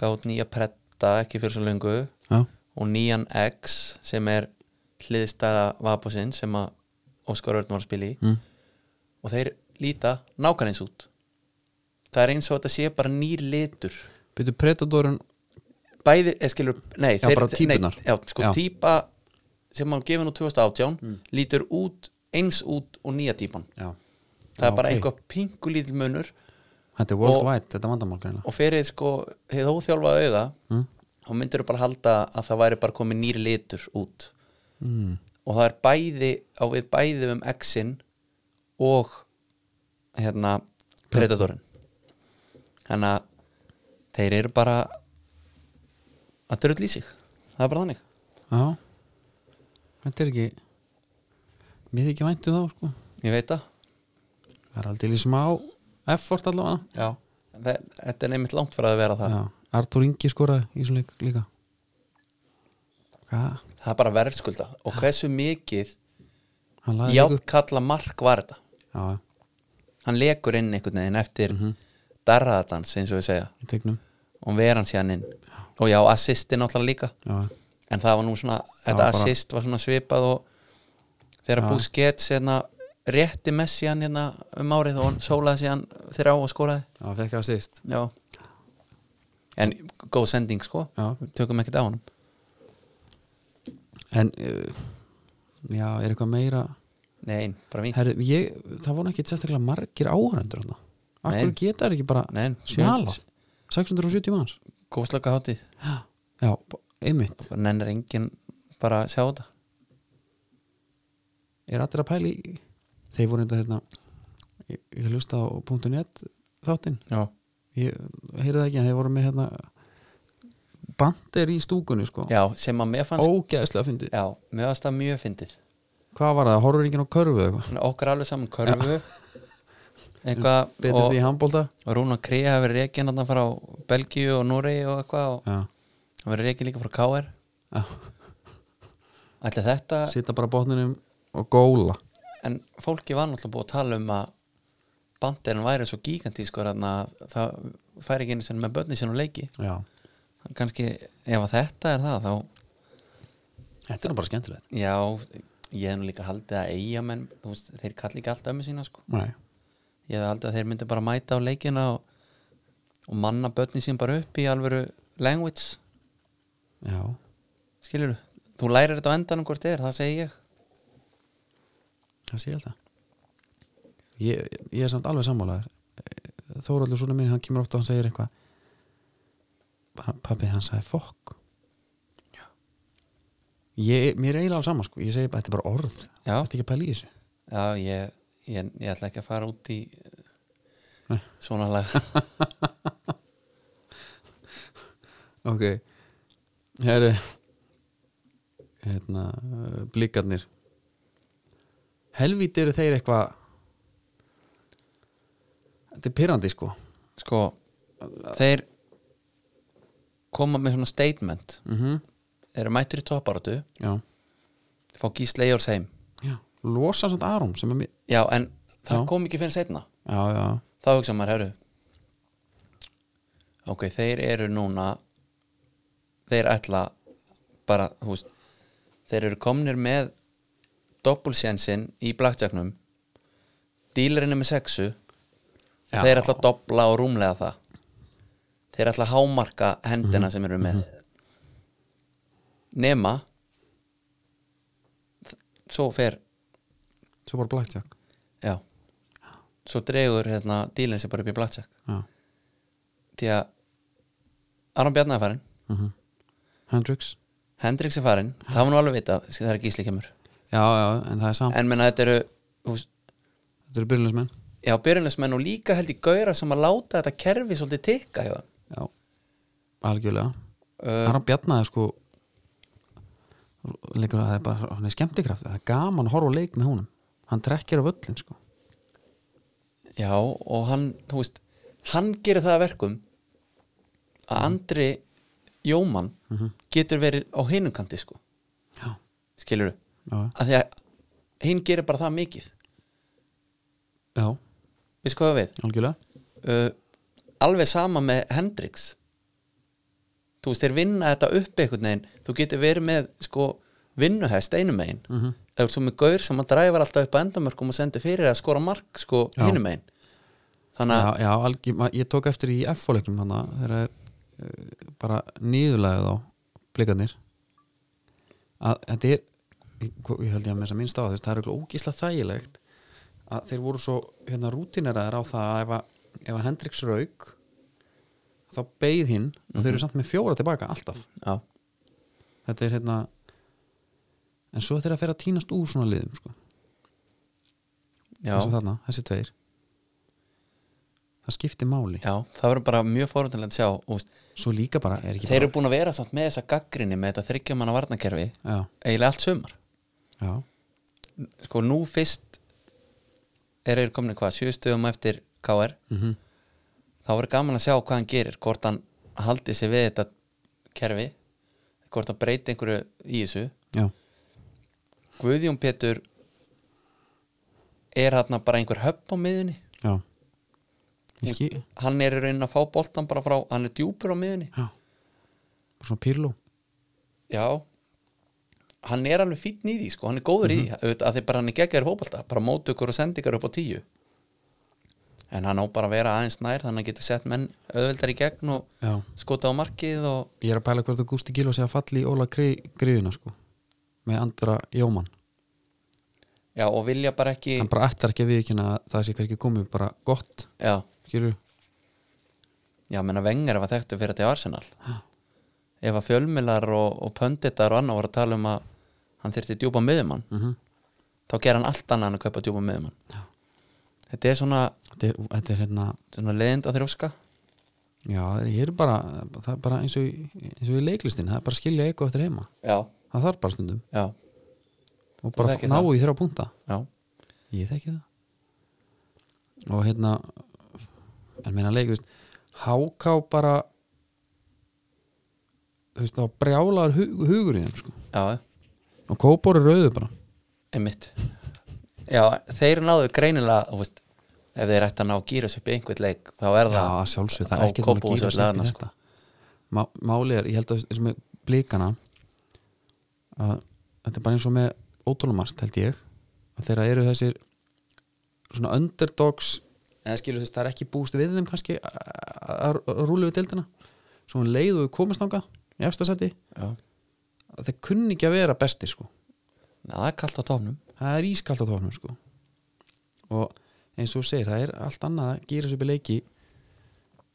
gaf út nýja pretta ekki fyrir svo löngu
já,
og nýjan X sem er hliðstæða vapusinn sem að Óskar Örn var að spila í
mm.
og þeir líta nákvæmleins út það er eins og þetta sé bara nýr litur
Byrju Predatorin
bæði, eða skilur, nei
Já, bara típurnar.
nei, já, sko,
Já.
típa sem hann gefið nú 2018 lítur út, eins út og nýja típan
Já,
það
Já,
er bara
ok.
einhver pingu lítil munur
þetta er worldwide, þetta er vandamál greinlega
og fyrir sko, hefði óþjálfa auða
mm.
þá myndir þú bara halda að það væri bara komið nýr litur út
Mm.
og það er bæði á við bæði um X-in og hérna Predatorin þannig að þeir eru bara að drull í sig það er bara þannig
já þetta er ekki mér þykir væntu þá sko
ég veit það
það er aldrei smá effort allavega
Já. Þe- þetta er neymitt langt fyrir að vera það
já. Artur Ingi skoraði í svona leik líka hvað
það er bara verðskulda og hversu mikið
hann laði
já,
leik upp
kalla mark var þetta
já, já,
hann lekur inn einhvern veginn eftir
Mhm.
mm -hmm. darraðatans eins og við segja
í tegnum
og vera hann síðan inn og já, assisti náttúrulega líka
já, já.
en það var nú svona,
var
þetta
bara-
assist var svona svipað og þegar
Já.
Busquets hérna, rétti Messi hann hérna um árið og hann sólaði síðan þrjá og skoraði
já, fekk ég á síst
já. en góð sending sko
já,
við tökum ekkert á hann
en uh, já, er eitthvað meira
nein, bara mín
Herri, ég, það voru ekki sérstaklega margir áhörendur hann akkur
Nei.
geta þær ekki bara
nein,
smala 670 manns
góðslöka hátíð
já, b- einmitt,
bara nennir enginn bara að sjá þetta
er allir að pæli þeir voru þetta hérna ég, ég hlusta á .net þáttinn
já,
ég heyrði það ekki en þeir voru með hérna bandir í stúkunni sko
já sem að mér fannst
ógeðslega fyndið
já, mér fannst það mjög fyndið
hvað var það, horfur enginn á körfu eða eitthvað
Þannig að okkur alveg saman körfu eitthvað
betur
og,
því í handbólta
og Rúna Kri hafi verið reikin þarna frá Belgíu og Núri og eitthvað og
já,
hann verið reikin líka frá KR
já,
Ætli þetta,
sita bara á botninum og góla
en fólki var náttúrulega búið að tala um að bandirinn væri svo gigantískur þarna að það færi ekki einu sinni með börni sinni og leiki
já,
kannski ef að þetta er það þá,
þetta er nú bara skemmtilegt
já ég hef nú líka haldið að eiga menn veist, þeir kalli ekki alltaf ömmu sína sko
Nei.
ég hef haldið að þeir myndi bara mæta á leikina og, og manna börni sín bara upp í alvöru language
já,
skilur þú lærir þetta á endanum hvort þið er, það segi ég
það sé ég þetta ég, ég er samt alveg sammálaður Þóraldur svona minn, hann kemur oft og hann segir eitthvað Bara, pabbi, hann sagði fokk ég, mér er eiginlega alveg saman sko. ég segi bara, þetta er bara orð
Já.
þetta er ekki að pæla í þessu
Já, ég, ég, ég ætla ekki að fara út í
Nei.
svona lag
Ok Herri Hérna, uh, blikarnir Helvíti eru þeir eitthvað Þetta er pyrrandi sko
sko, þeir koma með svona statement
mm
eru mættur í topparötu,
Já,
fá Gísle Jóls heim
já Losa samt Arum sem er mér
já, en það
Já.
kom ekki fyrir setna
Já, já,
þá hugsa maður, herru ok, þeir eru núna þeir ætla bara, þú veist þeir eru komnir með doppulsjensin í blackjacknum dílarinn er með sexu
Já.
þeir ætla að doppla og rúmlega það þeir ætla að hámarka hendina sem eru með nema þ- svo fer
svo bara blackjack
já svo dregur hérna dílinn sem bara upp í blackjack
Já,
því að Aron Bjarni er farinn,
mm Hendrix
Hendrix er farinn það var nú alveg vitað, það er gísli kemur
Já, já, en það er samt
en menna þetta eru þú veist,
Þetta eru byrjulismenn
já, byrjunlismenn og líka held í gauðra sem að láta þetta kerfi svolítið tikka hjá þeim.
Já, algjörlega
uh,
Aram Bjarnaði sko leikur að það er bara hann er skemmtikraft, það er gaman að horfa á leik með húnum hann trekkir á völlin sko
já, og hann þú veist, hann gerir það að verkum að Andri Jóman getur verið á hinum kanti sko,
já,
skilur
já,
að því að hinn gerir bara það mikið
já,
við skoðum við
algjörlega
uh, alveg sama með Hendrix þú veist, þeir vinna þetta upp einhvern veginn, þú getur verið með sko vinnuhest einum megin mm -hmm. eða svo með gaur sem að dræfar alltaf upp að endamörkum og sendir fyrir að skora mark sko
Já.
hinum megin þannig að,
já, já, algjör, ma- ég tók eftir í F-fóleiknum hann þegar er uh, bara nýðulega þá blikarnir að þetta er ég, hvo- ég held ég að með þess að minnst á þess það er eitthvað ógísla þægilegt að þeir voru svo hérna rútineraðar á það að ef að, ef að Hendrix rauk þá beigð hinn og þeir
Mhm.
eru samt með fjóra tilbaka alltaf
já,
þetta er hérna en svo þegar að fyrir að týnast úr svona liðum sko.
já,
eins og þarna, þessi tveir það skiptir máli
já, það verður bara mjög fórhundinlega að sjá úst,
svo líka bara er ekki
þeir eru búin að vera samt með þessa gaggrinni með þetta þryggjamanna varnakerfi
bara, já,
eiginlega allt sumar
já,
sko nú fyrst er þeir komin hvað, sjö stöðum eftir KR
mm
þá verður gaman að sjá hvað hann gerir hvort hann haldi sig við þetta kerfi hvort hann breyti einhverju í þessu
já
Guðjón Pétur er hann bara einhver höpp á miðunni
já ég skil,
hann er í raunin að fá boltan bara frá hann er djúpur á miðunni
já bara svona pyrlú,
já, hann er alveg fínn í því sko, hann er góður í því auðvitað, að því bara hann er geggjær fótbolta, bara móti ykkur og sendi ykkur upp á tíu en hann á bara að vera aðeins nær þannig að hann getur sett menn auðveldar í gegn og
já
skota á markið og
ég er að pæla hvert að Gústi Gíló sé að falli í Óla Griðuna sko með andra Jóman
Já, og vilja bara ekki
hann bara ættar ekki að viðkynna að það sé hverki komið bara gott,
Já,
skilur
já, menna vengar var þekktu fyrir þetta í Arsenal
Ha.
Ef að fjölmilar og, og pönditar og annað voru að tala um að hann þyrfti djúpa miðumann
mm -hmm.
þá ger hann allt annað en að kaupa djúpa miðumann
Já.
Þetta er svona,
þetta, er, þetta er hérna
svona leiðind á þrjóska
já, ég er bara, það er bara eins og, í- eins og í leiklistin, það er bara að skilja eitthvað eftir heima,
Já,
það þarf bara stundum
já,
og
Þú
bara
þekkir
ná
það.
í þrjá punta
já
ég þekki það og hérna en meina leik, þú veist háká bara þú veist, þá brjálar hug, hugur í þeim sko
Já,
og kópor er rauðu bara
einmitt Já, þeir náðu greinilega þú veist, ef þeir ætti að ná gýra upp í einhvern leik þá er
já,
það
að sjálfsög, það
á
er ekki þannig að
Kópavogs
gýra
öll
sér upp í
annars,
þetta Má, máli er, ég held að eins og með blíkana að þetta er bara eins og með ótrúlumart held ég að þeirra eru þessir svona underdogs eða skilur þess, það er ekki búst við þeim kannski að- að að rúlu við deildina svo hann leið og við komist þanga í efstasæti,
Já,
að þeir kunni ekki að vera besti sko,
Ná, það er kalt á tófnum
það er ískalt á tóknum sko og eins og þú segir, það er allt annað að gýra sér upp í leiki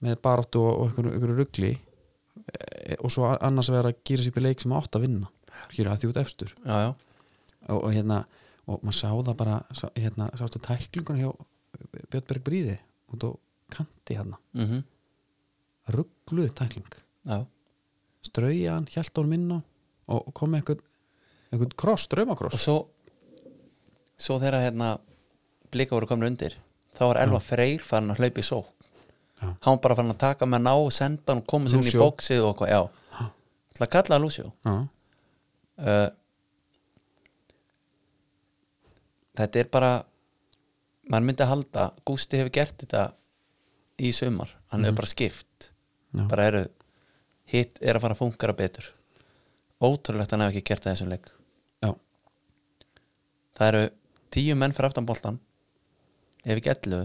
með baráttu og, og einhverju, einhverju rugli e, og svo a- annars vera að gýra sér upp í leik sem átt að vinna skilur að því út efstur
Já, já,
og, og hérna og maður sá það bara sá, hérna, sástu tæklingun hjá Björnberg Bríði út á kanti hérna
mhm,
ruggluð tækling
já
strauja hann, hjælt honum inn á og kom með einhvern einhvern kross,
og
draumakross
svo svo þegar hérna blika voru komin undir þá var Elva Freyr farin að hlaupa í só
Já.
hann var bara farin að taka með ná og senda hann og koma sér inn í
Lucio.
bóksið og eitthvað, já til að kalla það Lúcio
Já,
uh, þetta er bara maður myndi að halda Gústi hefur gert þetta í sumar hann hefur bara skipt
Mhm. já,
bara eru, hitt er að fara að funkara betur ótrúlegt að hann hefur ekki gert það í þessum leik
já,
það eru tíu menn fyrir aftan boltan ef ekki ellu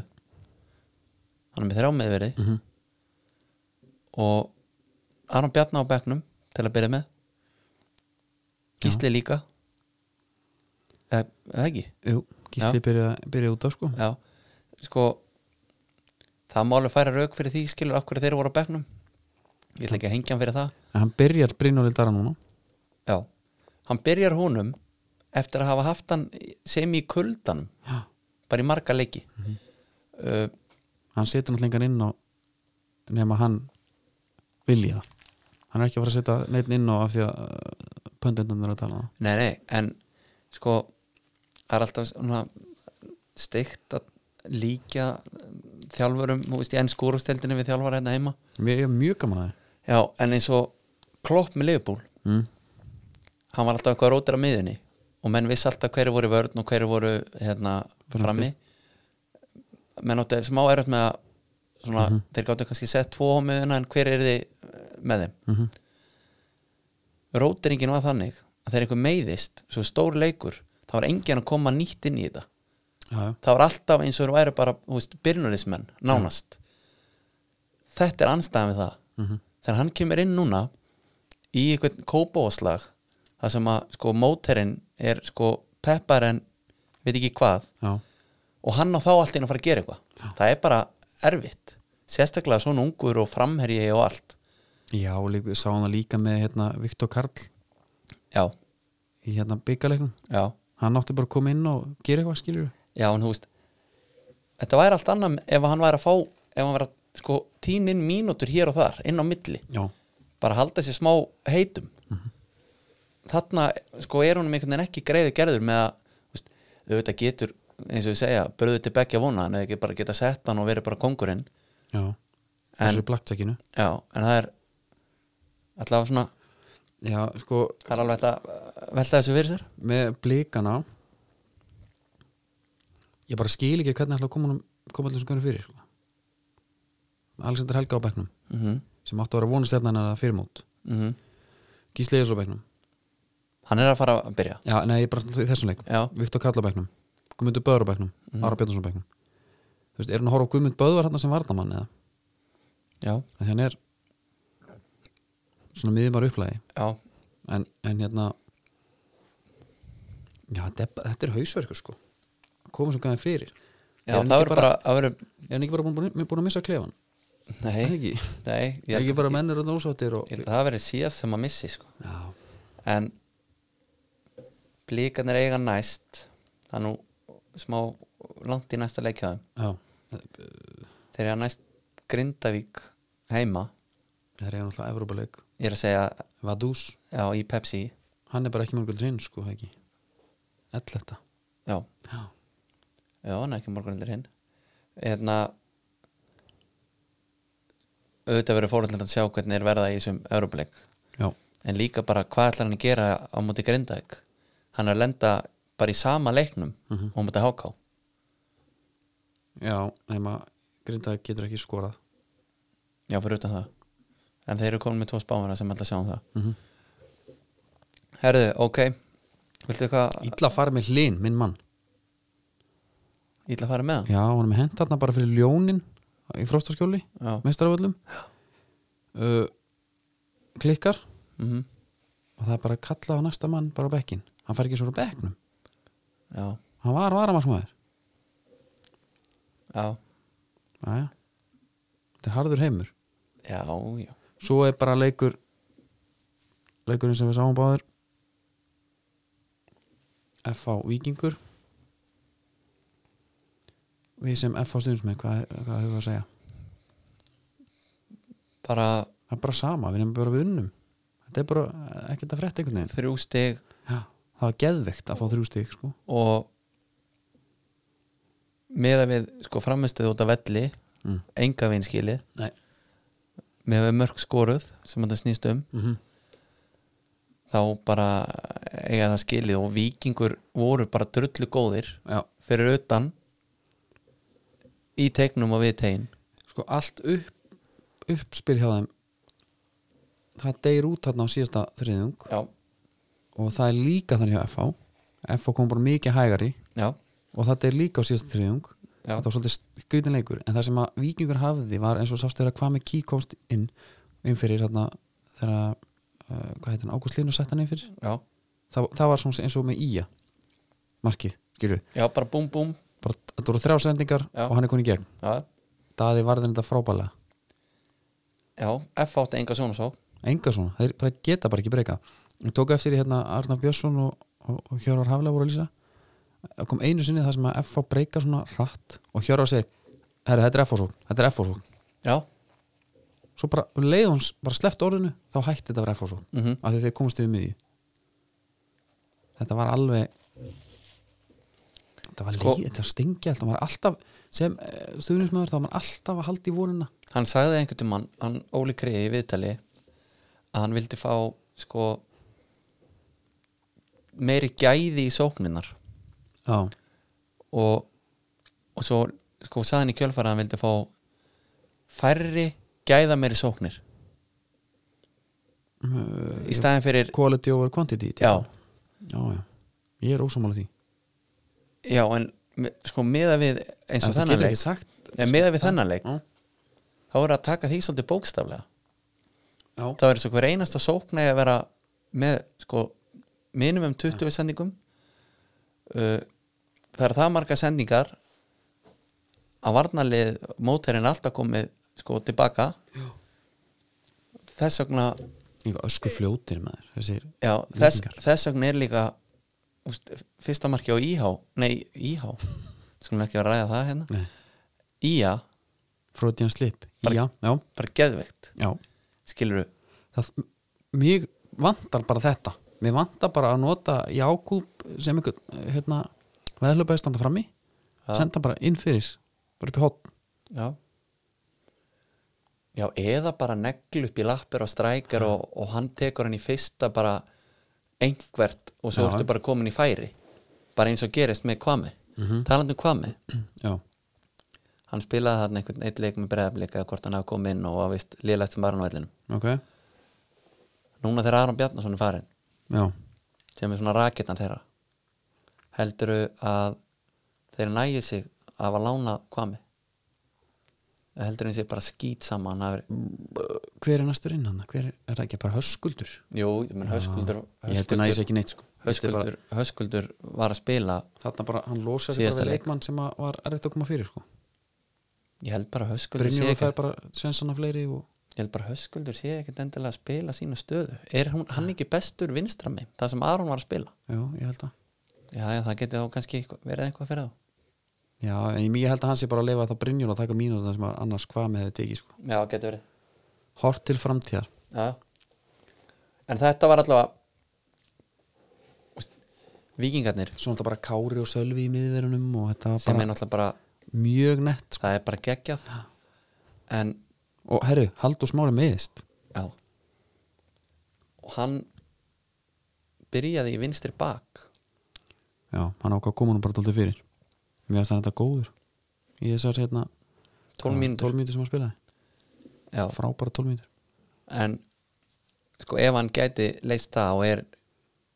hann er með þrjá meðveri
mhm,
og Aron Bjarnar á bekknum til að byrja með Gísli líka eða eða ekki
jú Gísli byrjaði byrja út af sko
já, sko það má alveg færa rauk fyrir því skilur af hverju þeir voru á bekknum ég ætla ekki að hengja hann fyrir það
En hann byrjar Brynjólið Dara núna
já, hann byrjar honum eftir að hafa haft hann sem í kuldanum
Já.
bara í marga leiki uh,
hann setur náttúrulega engan inn á nema hann vilja það hann er ekki að fara að setja neitt inn á af því að pöndendunum er að tala um það
Nei, nei, en sko það er alltaf svona steikt að líkja um, þjálfurum, þú veist, í enn skúrusteldinu við þjálfara hérna heima
Mér ég er mjög gaman að
Já, en eins og Klopp með Leifbúl,
það mm.
hann var alltaf eitthvað rótir á miðunni og menn vissi alltaf hverju voru í vörn og hverju voru hérna
Frammi.
frammi menn áttu smá erut með að svona, þeir gáttu kannski sett tvo á miðuna en hver er þið með þeim
Mm -hmm.
rótiringin var þannig að þegar einhver meiðist, svo stór leikur þá var enginn að koma nýtt inn í þetta
já, já.
það var alltaf eins og þeir væri bara þú veist, byrnulismenn, nánast þetta er anstæðan við það
Mhm.
þegar hann kemur inn núna í einhvern kópáslag það sem að sko móterinn er sko peppar en veit ekki hvað
já,
og hann á þá allt inn að fara að gera eitthvað það er bara erfitt sérstaklega svona ungur og framherji og allt
já líka, sá hann það líka með hérna, Viktor Karl
já,
í hérna byggalegnum
já,
hann átti bara að koma inn og gera eitthvað skilur
já en þú veist þetta væri allt annað ef hann væri að fá ef hann væri að sko tínin mínútur hér og þar inn á milli,
já,
bara halda sér smá heitum þarna sko er honum einhvern veginn ekki greiði gerður með að þú veist, auðvitað getur eins og við segja, bröðu til begja vona en eða ekki bara geta sett hann og verið bara kongurinn
já
En-
þessu blackjackinu
já, en það er allavega svona,
já, sko,
það er alveg hægt að uh, velta þessu fyrir sér
með blíkana ég bara skil ekki hvernig ætla að koma, honum- koma allir sem hvernig fyrir sko. Alexander Helga á bekknum
mhm mm
sem áttu að vera vonu stefnan að fyrirmót Gísli Eðis á bekknum
hann er að fara að byrja
já, nei, ég bara í þessum leik
já,
Viktor Karl á bekknum, Guðmundur Böður á bekknum mm. Ára Björnsson á bekknum Þú veist, er hann að horfa á Guðmund Böður hann sem varnamann eða
já,
að hann er svona miðum var upplægi
já,
en, en hérna já, þetta er, þetta er hausverku sko að koma sem gæði fyrir
já
Er hann ekki
það verður bara að vera,
er hann ekki bara búin, búin, búin að missa klefan
nei,
er það ekki,
nei ég
er
held
ekki bara mennur og ósáttir og
ég held að það verður síðast sem að missi sko.
já,
en blíkarnir eiga næst það er nú smá langt í næsta leikjaðum
já,
þeir eiga næst Grindavík heima
það er náttúrulega Evrópuleik
ég er að segja
Vadús,
já, í Pepsi
hann er bara ekki mörgul trinn sko, það er ekki ell þetta
já,
já,
já, hann er ekki morgunildur hinn hérna auðvitað verður fórhaldur að sjá hvernig er verða í þessum Európleik
já,
en líka bara hvað ætlar hann að gera á móti Grindavík hann er að lenda bara í sama leiknum
Mhm.
á móti HK
já nema, grindaði getur ekki skorað
Já, fyrir utan það En þeir eru komin með tvo spámara sem ætla að sjá um það
mm -hmm.
Herðu, ok Viltu eitthvað
illa farið með hlinn, minn mann
ítla að fara með það?
já, hann er með hent þarna bara fyrir ljónin í fróstaskjóli
Já,
meistaraföllum uh, klikkar
mm
og það er bara að kalla á næsta mann bara á bekkin hann fær ekki svo á bekknum
já,
hann var varamarsmaður
já,
Jæja. þetta er harður heimur
já, já
svo er bara leikur leikurinn sem við sáum báður FH Víkingur við sem FH stundum hvað, hvað hefur að segja
Bara
það er bara sama, við nefnum bara við unnum þetta er bara ekkert að frétta einhvern veginn
þrjú stig
Já, það var geðveikt að fá þrjú stig sko.
og meða við sko framistuð út af velli
Mm.
enga vinskili
Nei.
meða við mörg skoruð sem þetta snýst um
mm -hmm.
þá bara eiga það skilið og vikingur voru bara drullu góðir
já
fyrir utan í teiknum og við tegin
sko allt upp uppspil hjá þeim það deyr út þarna á síðasta þriðung
já,
og það er líka þannig hjá FH FH kom bara mikið hægari
já,
og það deyr líka á síðasta þriðung
já,
þetta var svolítið skrítin leikur en það sem að vikingur hafði var eins og sástu þeirra hvað með ký komst inn inn fyrir þarna þegar að, uh, hvað heitir hann, Ágúst Línu sett hann inn fyrir
já,
það, það var svona eins og með íja markið, skilju,
já, bara búm búm
bara þetta voru þrjá sendingar
Já.
og hann er konið gegn,
já,
daði varðin þetta frábælega
já, F átti enga svona sá
enga svona, þeir bara geta bara ekki breyka ég tók eftir í hérna Arnar Björnsson og, og, og Hjörvar Haflega voru að lýsa það kom einu sinni það sem að FH breyka svona hratt og Hjörvar segir herri þetta er FH svo, þetta er FH svo
já,
svo bara um leið og hans bara sleppt orðinu þá hætti þetta að vera FH svo
mhm,
af því þeir komast yfir miði þetta var alveg þetta var,
Sko-
sko, þetta var stingi alltaf, var alltaf sem stuðnismöður þá var maður alltaf að halda í vonina
hann sagði einhvern tímann hann Óli Kriði í viðtali að hann vildi fá sko meiri gæði í sókninar
já,
og, og svo sko sagði hann í kjölfara að hann vildi fá færri gæða meiri sóknir í staðin fyrir
quality over quantity
já,
já, já, ég er ósámála því
já, en me- sko meða við
En
eins og
þú
þennan
getur
leik
ekki sagt
Nei, meða við þennan leik
Já.
þá er að taka því svolítið bókstaflega
Já.
það verður svo hver einasta sókn eigi að vera með sko minimum 20 sendingum uh, það er það marga sendingar að varnalið móterinn alltaf komið sko tilbaka Já. þess vegna
Líka ösku fljótir með þér Þessir,
Já, þess,
Víkingar.
þess vegna er líka úst, fyrsta marki á IH nei, IH skulum ekki vera að ræða það hérna
nei,
Ía,
Freudian slip,
Bara-
já, já,
bara geðveikt
já
skilur við,
það, mér vantar bara þetta mér vantar bara að nota Jákúb sem einhvern, eh, hérna veðlöpaði standa frammi,
Já.
senda bara inn fyrir, bara upp í hótt
já já, eða bara neglu upp í lappir og strækjar og, og hann tekur hann í fyrsta bara einhvert og
Já.
svo ertu bara komin í færi bara eins og gerist með kvami mm -hmm. talandi um kvami
já,
hann spilaði þarna einhvern eitt leik með breðableika hvort hann hafa komið inn og var vist liðlægt sem bara á vellinum
ok já,
núna þegar Aron Bjarnason er farinn sem er svona raketan þeirra heldurðu að þeir nægi sig af að lána kvami heldur þeir sé bara skýt saman að vera,
hver er næstur inn hann hver er, er það ekki bara höskuldur
jú, ég menn höskuldur
ég held að næs
höskuldur,
ekki neitt sko Ég held ég bara,
höskuldur, höskuldur var að spila
þarna bara, hann losa sig bara
Síðasta
við
leik.
leikmann sem að var erfitt að koma fyrir sko
ég held bara höskuldur sé
Brynjóður
ekki
fær bara sensana fleiri og
ég held bara höskuldur sé ekki endilega að spila sína stöðu, er hún, hann ekki bestur vinstra með, það sem Aron var að spila
já, ég held að
já, já það geti þá kannski eitthvað- verið eitthvað fyrir þá
já, en ég- ég held að hann sé bara að leifa þá Brynjóður að taka mínútur sem að annars hvað með hefði tekið sko
já, geti verið
hort til framtíðar
Já. En þetta var allavega Úst, Víkingarnir
svo náttúrulega bara Kári og Sölvi í miðverunum og þetta var
sem
bara
er náttúrulega bara
mjög nett sko.
það er bara geggjað en
og herru, Haldur Smári meðist
já og hann byrjaði í vinstri bak
já, hann ákvað að koma hann bara dálítið fyrir mér finnst hann þetta góður í þessar hérna
12 mínútur
12 mínútur sem hann spilaði,
já.
frábæra 12 mínútur
en sko ef hann gæti leist það og er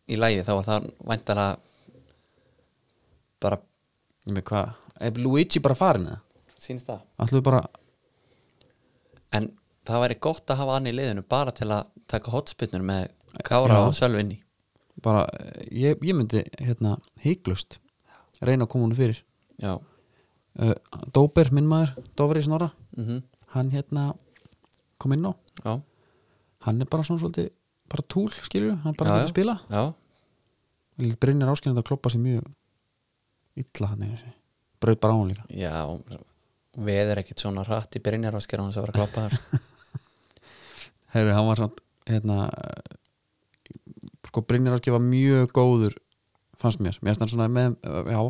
í lægi þá var það væntalega bara
ég með hvað, ef Luigi bara farin eða
sínst það
ætlum við bara,
en það væri gott að hafa hann í liðinu bara til að taka hotspinnur með Kára
Já.
og Sölvinni
bara eh, ég, ég myndi hérna hygglust reyna að koma hann fyrir
já
uh, Dóber, minn maður, Dófri Snorra
mm
hann hérna kom inn á,
já,
hann er bara svona svolítið bara túl, skilur, hann er bara
Já,
hægt að spila
já,
Brynjar áskynið að kloppa sér mjög illa hann einu sinni brauð bara á hann líka
já við er ekkit svona hratt í byrjinjar og skera hans að vera að kloppa þar
Herri, hann var samt hérna, sko Brynjar áskynið var mjög góður fannst mér, mér stann svona með, já,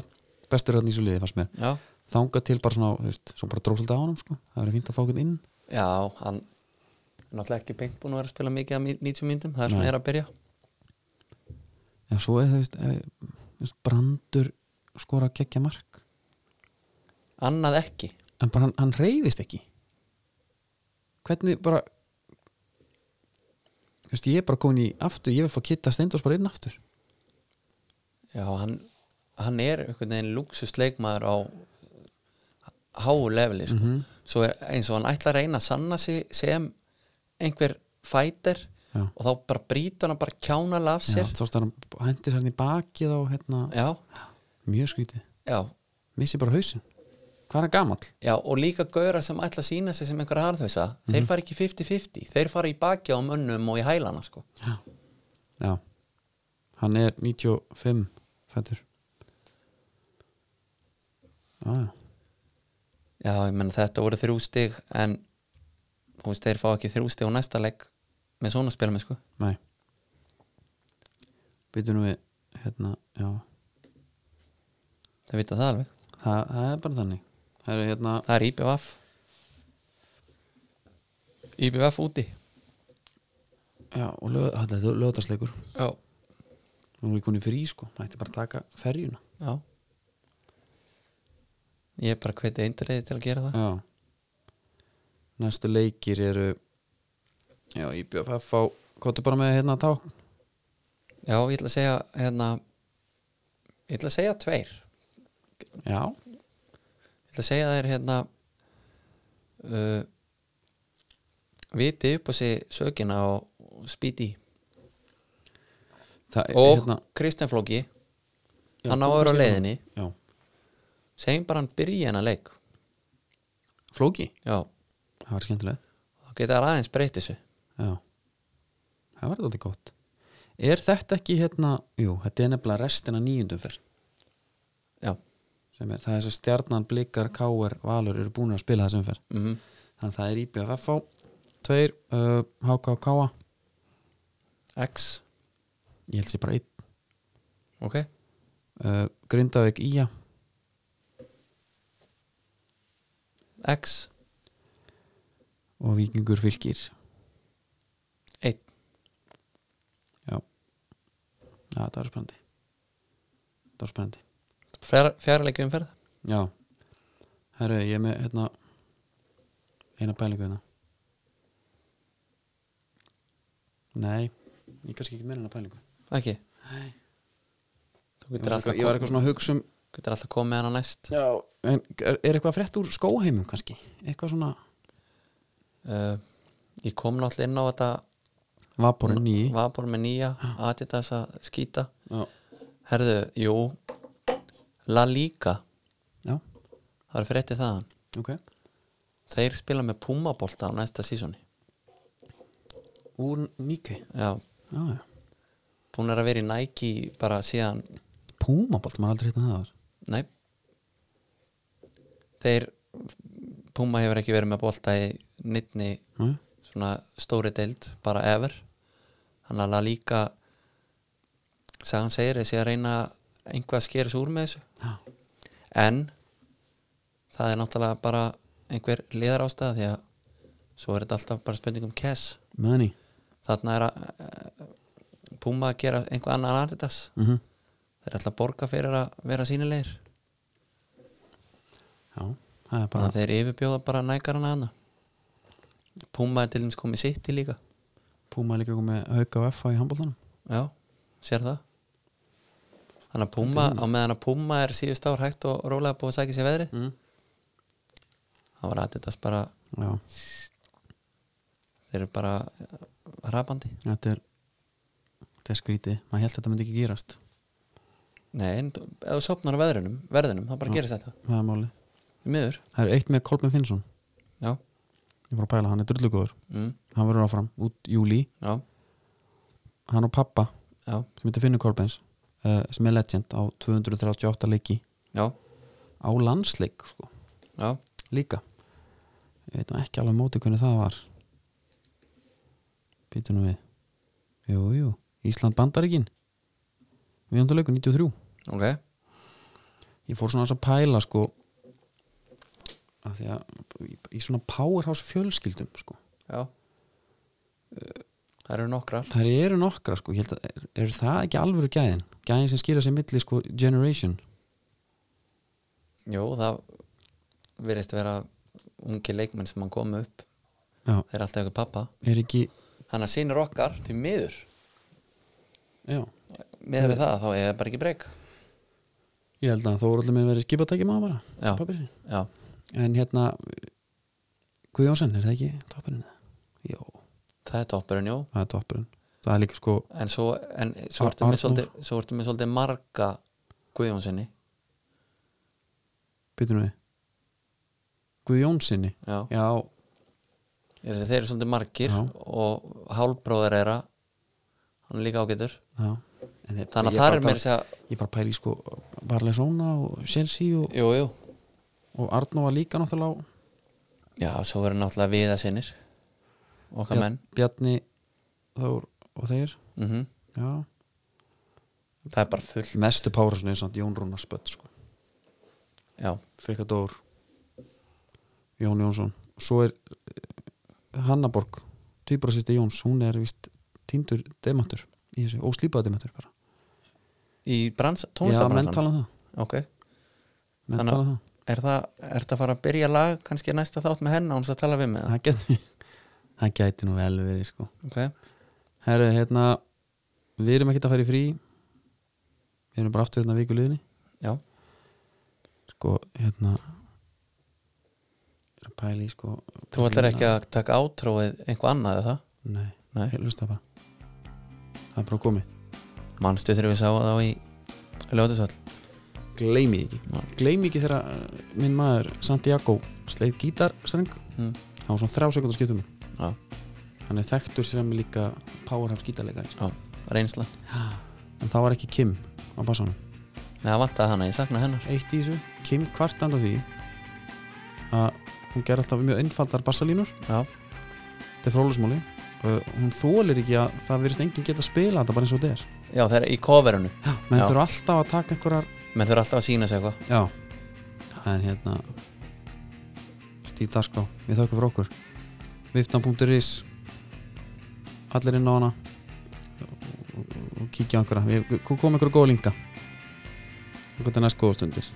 bestur hann í svo liði fannst mér
já,
þangað til bara svona, þú veist, svo bara dróðsöldi á hann sko. það verið fínt að fá hann inn
já, hann er náttúrulega ekki beint búin að vera að spila mikið af mí- 90 myndum, það er svona
Nei.
er að byrja
en svo er það, þú veist, eh, þú veist brandur skora geggja mark
annað ekki,
en bara hann, hann reyfist ekki hvernig bara þú veist, ég er bara komin í aftur ég vil fá kitta steindós bara inn aftur
já, hann hann er einhvern veginn luxusleikmaður á háu leveli, sko
Mhm.
svo er eins og hann ætla að reyna að sanna sig sem einhver fætir
Já.
og þá bara brýtur hann bara kjánal af
Já,
sér
þú veist, hann hendir sér hann í bakið á hérna,
já,
mjög skrítið
já,
missi bara hausinn, hvað er hann gamall
Já, og líka gaurar sem ætla að sína sig sem einhverja harðhauðsa, þeir fara ekki 50-50 þeir fara í baki á mönnum og í hælana sko.
já. já hann er 95 fættur já, já,
Já, ég menn þetta voru þrjú stig en þú veist, þeir fá ekki þrjú stig og næsta leik með svona spilum sko.
næ býtum við hérna, já,
þeir vita það alveg,
það, það er bara þannig það er hérna
það er IBVF IBVF úti
Já, og lög, þetta er lögðarsleikur
Já,
Nú er ég kunni frí, sko, mætti bara taka ferjuna
já. Ég er bara hvetið eindriði til að gera það
Já Næstu leikir eru Já, IBFF á Kottu bara með hérna tá
Já, ég ætla að segja hérna, ég ætla að segja tveir
Já,
Ég ætla að segja þér hérna uh, viti upp á sig sökina og, og spýti í.
það er
og
hérna
Kristján Flóki
Já,
hann á
þú
að vera á
segir
leiðinni
Já,
segjum bara hann byrja hennar leik
flóki,
já,
það var skemmtilegt
þá geta það aðeins breytt þessu
Já, það var þetta gott Er þetta ekki hérna Jú, þetta er nefnilega restina níundum fyrr
já,
sem er, það er svo stjarnan, blikar, káir, valur eru búin að spila þessum fer
mm
þannig að það er IBFF á tveir, uh, HKK
X,
ég held sér bara einn
ok
uh, Grindavík IA,
X,
og Víkingur Fylgir
Einn.
Já Já, það var spennandi Það var spennandi
fjara leikjum ferð
Já Herru, ég er með hérna eina pælingu hérna Nei, ég er kannski ekki með hérna pælingu
ekki
Nei.
þú
Ég
getur
var,
alltaf,
eitthvað, ég var eitthvað svona að hugsa um
getur alltaf komið með hana næst
Já, en er, er eitthvað frétt úr skóheimum kannski? Eitthvað svona
uh, ég kom náttúrulega inn á þetta
Vaporinn ný
vabor með nýja Adidas að skýta
Já,
herðu, jú La Liga,
já,
það er frétti þaðan
ok
þeir spila með Pumabolta á næsta sísoni
Úr Nike
já,
Já, já
búin er að vera í Nike bara síðan,
Púmabolt, maður aldrei hitt um það þar
nei þeir Puma hefur ekki verið með bolta í nittni
Nei,
svona stóri deild bara ever þannig að La Liga sagðan segir þessi að reyna einhvað að skera sig úr með þessu
Já,
en það er náttúrulega bara einhver liðar ástæða því að svo er þetta alltaf bara spurning um cash
money
þarna er að eh, Puma að gera einhver annan Adidas
mm
þeir er alltaf að borga fyrir að vera sínilegir
Já, það er bara
þannig að þeir yfirbjóða bara nækarana hana Puma er til dæmis komið sitt í líka
Puma er líka komið hauka á FH í handbóltanum
Já, sér það Þannig að Puma, á meðan að Puma er síðust ár hægt og rólega búið að sækja sér veðrið
mm.
þá var Adidas bara,
Já,
þeir eru bara eh, hrapandi
þetta er þetta er skrítið, maður held að þetta myndi ekki gerast
Nei, en þú- ef þú sopnar á veðrinum, verðinum, þá bara
Já.
gerist þetta
það er máli,
Í miður,
það er eitt með Kolbjörn Finnsson
já
ég fór að pæla, hann er drullugóður
mm,
hann verður áfram út júli,
Já,
hann og pappa
já,
sem heitir Finnur Kolbjörns uh, sem er legend á 238 leiki
já,
á landsleik sko,
já
líka ég veit nú ekki alveg á móti hvernig það var býtum við jú, jú, Ísland Bandaríkin við andur leiku 93
Ok,
ég fór svona aðeins að pæla sko að því að í- í svona powerhouse fjölskyldum sko
já Eh, Það eru nokkrar
þær eru nokkra sko, ég held að er, er það ekki alvöru gæðin, gæðin sem skilja sér milli sko generation,
Jú, það virðist vera ungi leikmenn sem hann kom upp
Já.
Þeir eru alltaf ykkur pappa
er ekki
Þannig að sýnir okkar til miður
já, Eh.
með við það þá er bara ekki breyk
ég held að þó er allir með verið skipatæki maður bara,
já,
pappir sinn
já,
en hérna Guðjónsson, er það ekki toppurinn? Jó,
það er toppurinn, jú
það er toppurinn það er líka sko,
en svo, en, svo
Ar-
ertu með
Arnór.
svolítið, svo ertu með svolítið marga Guðjónssoni
byttum við Guðjónssoni,
já,
já
Ég er að segja, þeir eru svolítið margir
Já.
og hálbróður er að hann er líka ágætur
já En þeir-
þannig
ég
að það
bara
er mér að segja,
ég bara pæli í, sko Barlesona og Chelsea og,
jú, jú
og Arnó var líka náttúrulega á
já, svo verður náttúrulega viða sinir okkar menn
Bjarni Þór og þeir
mm
já.
það er bara full
mestu Párasson er samt Jón Rúnar Spött sko.
já,
Frikka Dór Jón Jónsson svo er eh, Hanna Borg tvíbrasýsti Jóns, hún er vist tíndur demantur í þessu, óslýpaða demantur bara
í brans,
já, menn
tónlistabransan
tala um það,
ok,
menn
Þannig-
tala um það.
er það, er það að fara að byrja lag kannski næsta þátt með henn án þess að tala við með það
það gæti það gæti nú vel verið sko
ok,
herru, hérna við erum ekkert að fara í frí við erum bara aftur hérna vikuliðinni
já,
sko, hérna ég er að pæla í sko
Þú ætlar ekki að taka átróið einhver annað eða það?
Nei,
Nei.
ég lusta bara Það er bara komið
Manstu þegar við sáum þá í Ljóðusvall?
Gleimi ekki
Nei.
Gleimi ekki þegar uh, minn maður Santiago sleið gítarstreng
Mm.
Það var svona þrjá sekundur skiptum minn
Já,
Hann er þekktur sem líka powerhouse gítarleikari
já, reynsla
En það var ekki Kim á bassanum
Nei, það vantaði hana, ég sakna hennar
eitt í þessu, Kim kvartandi á því að hún ger alltaf mjög einfaldar bassalínur
Já.
þetta er frólusmáli og hún þólir ekki að það verðist enginn geta að spila þetta bara eins og þetta er
Já, það er í coverinu
menn
Já.
þurfa alltaf að taka einhverjar
Menn þurfa alltaf að sína sig eitthvað
já, en hérna Stíð Darská, við þökkum fyrir okkur viftan.is allir inn á hana og- og- og kíkja á einhverja við komum einhverju góða linka og þetta er næst góða stundir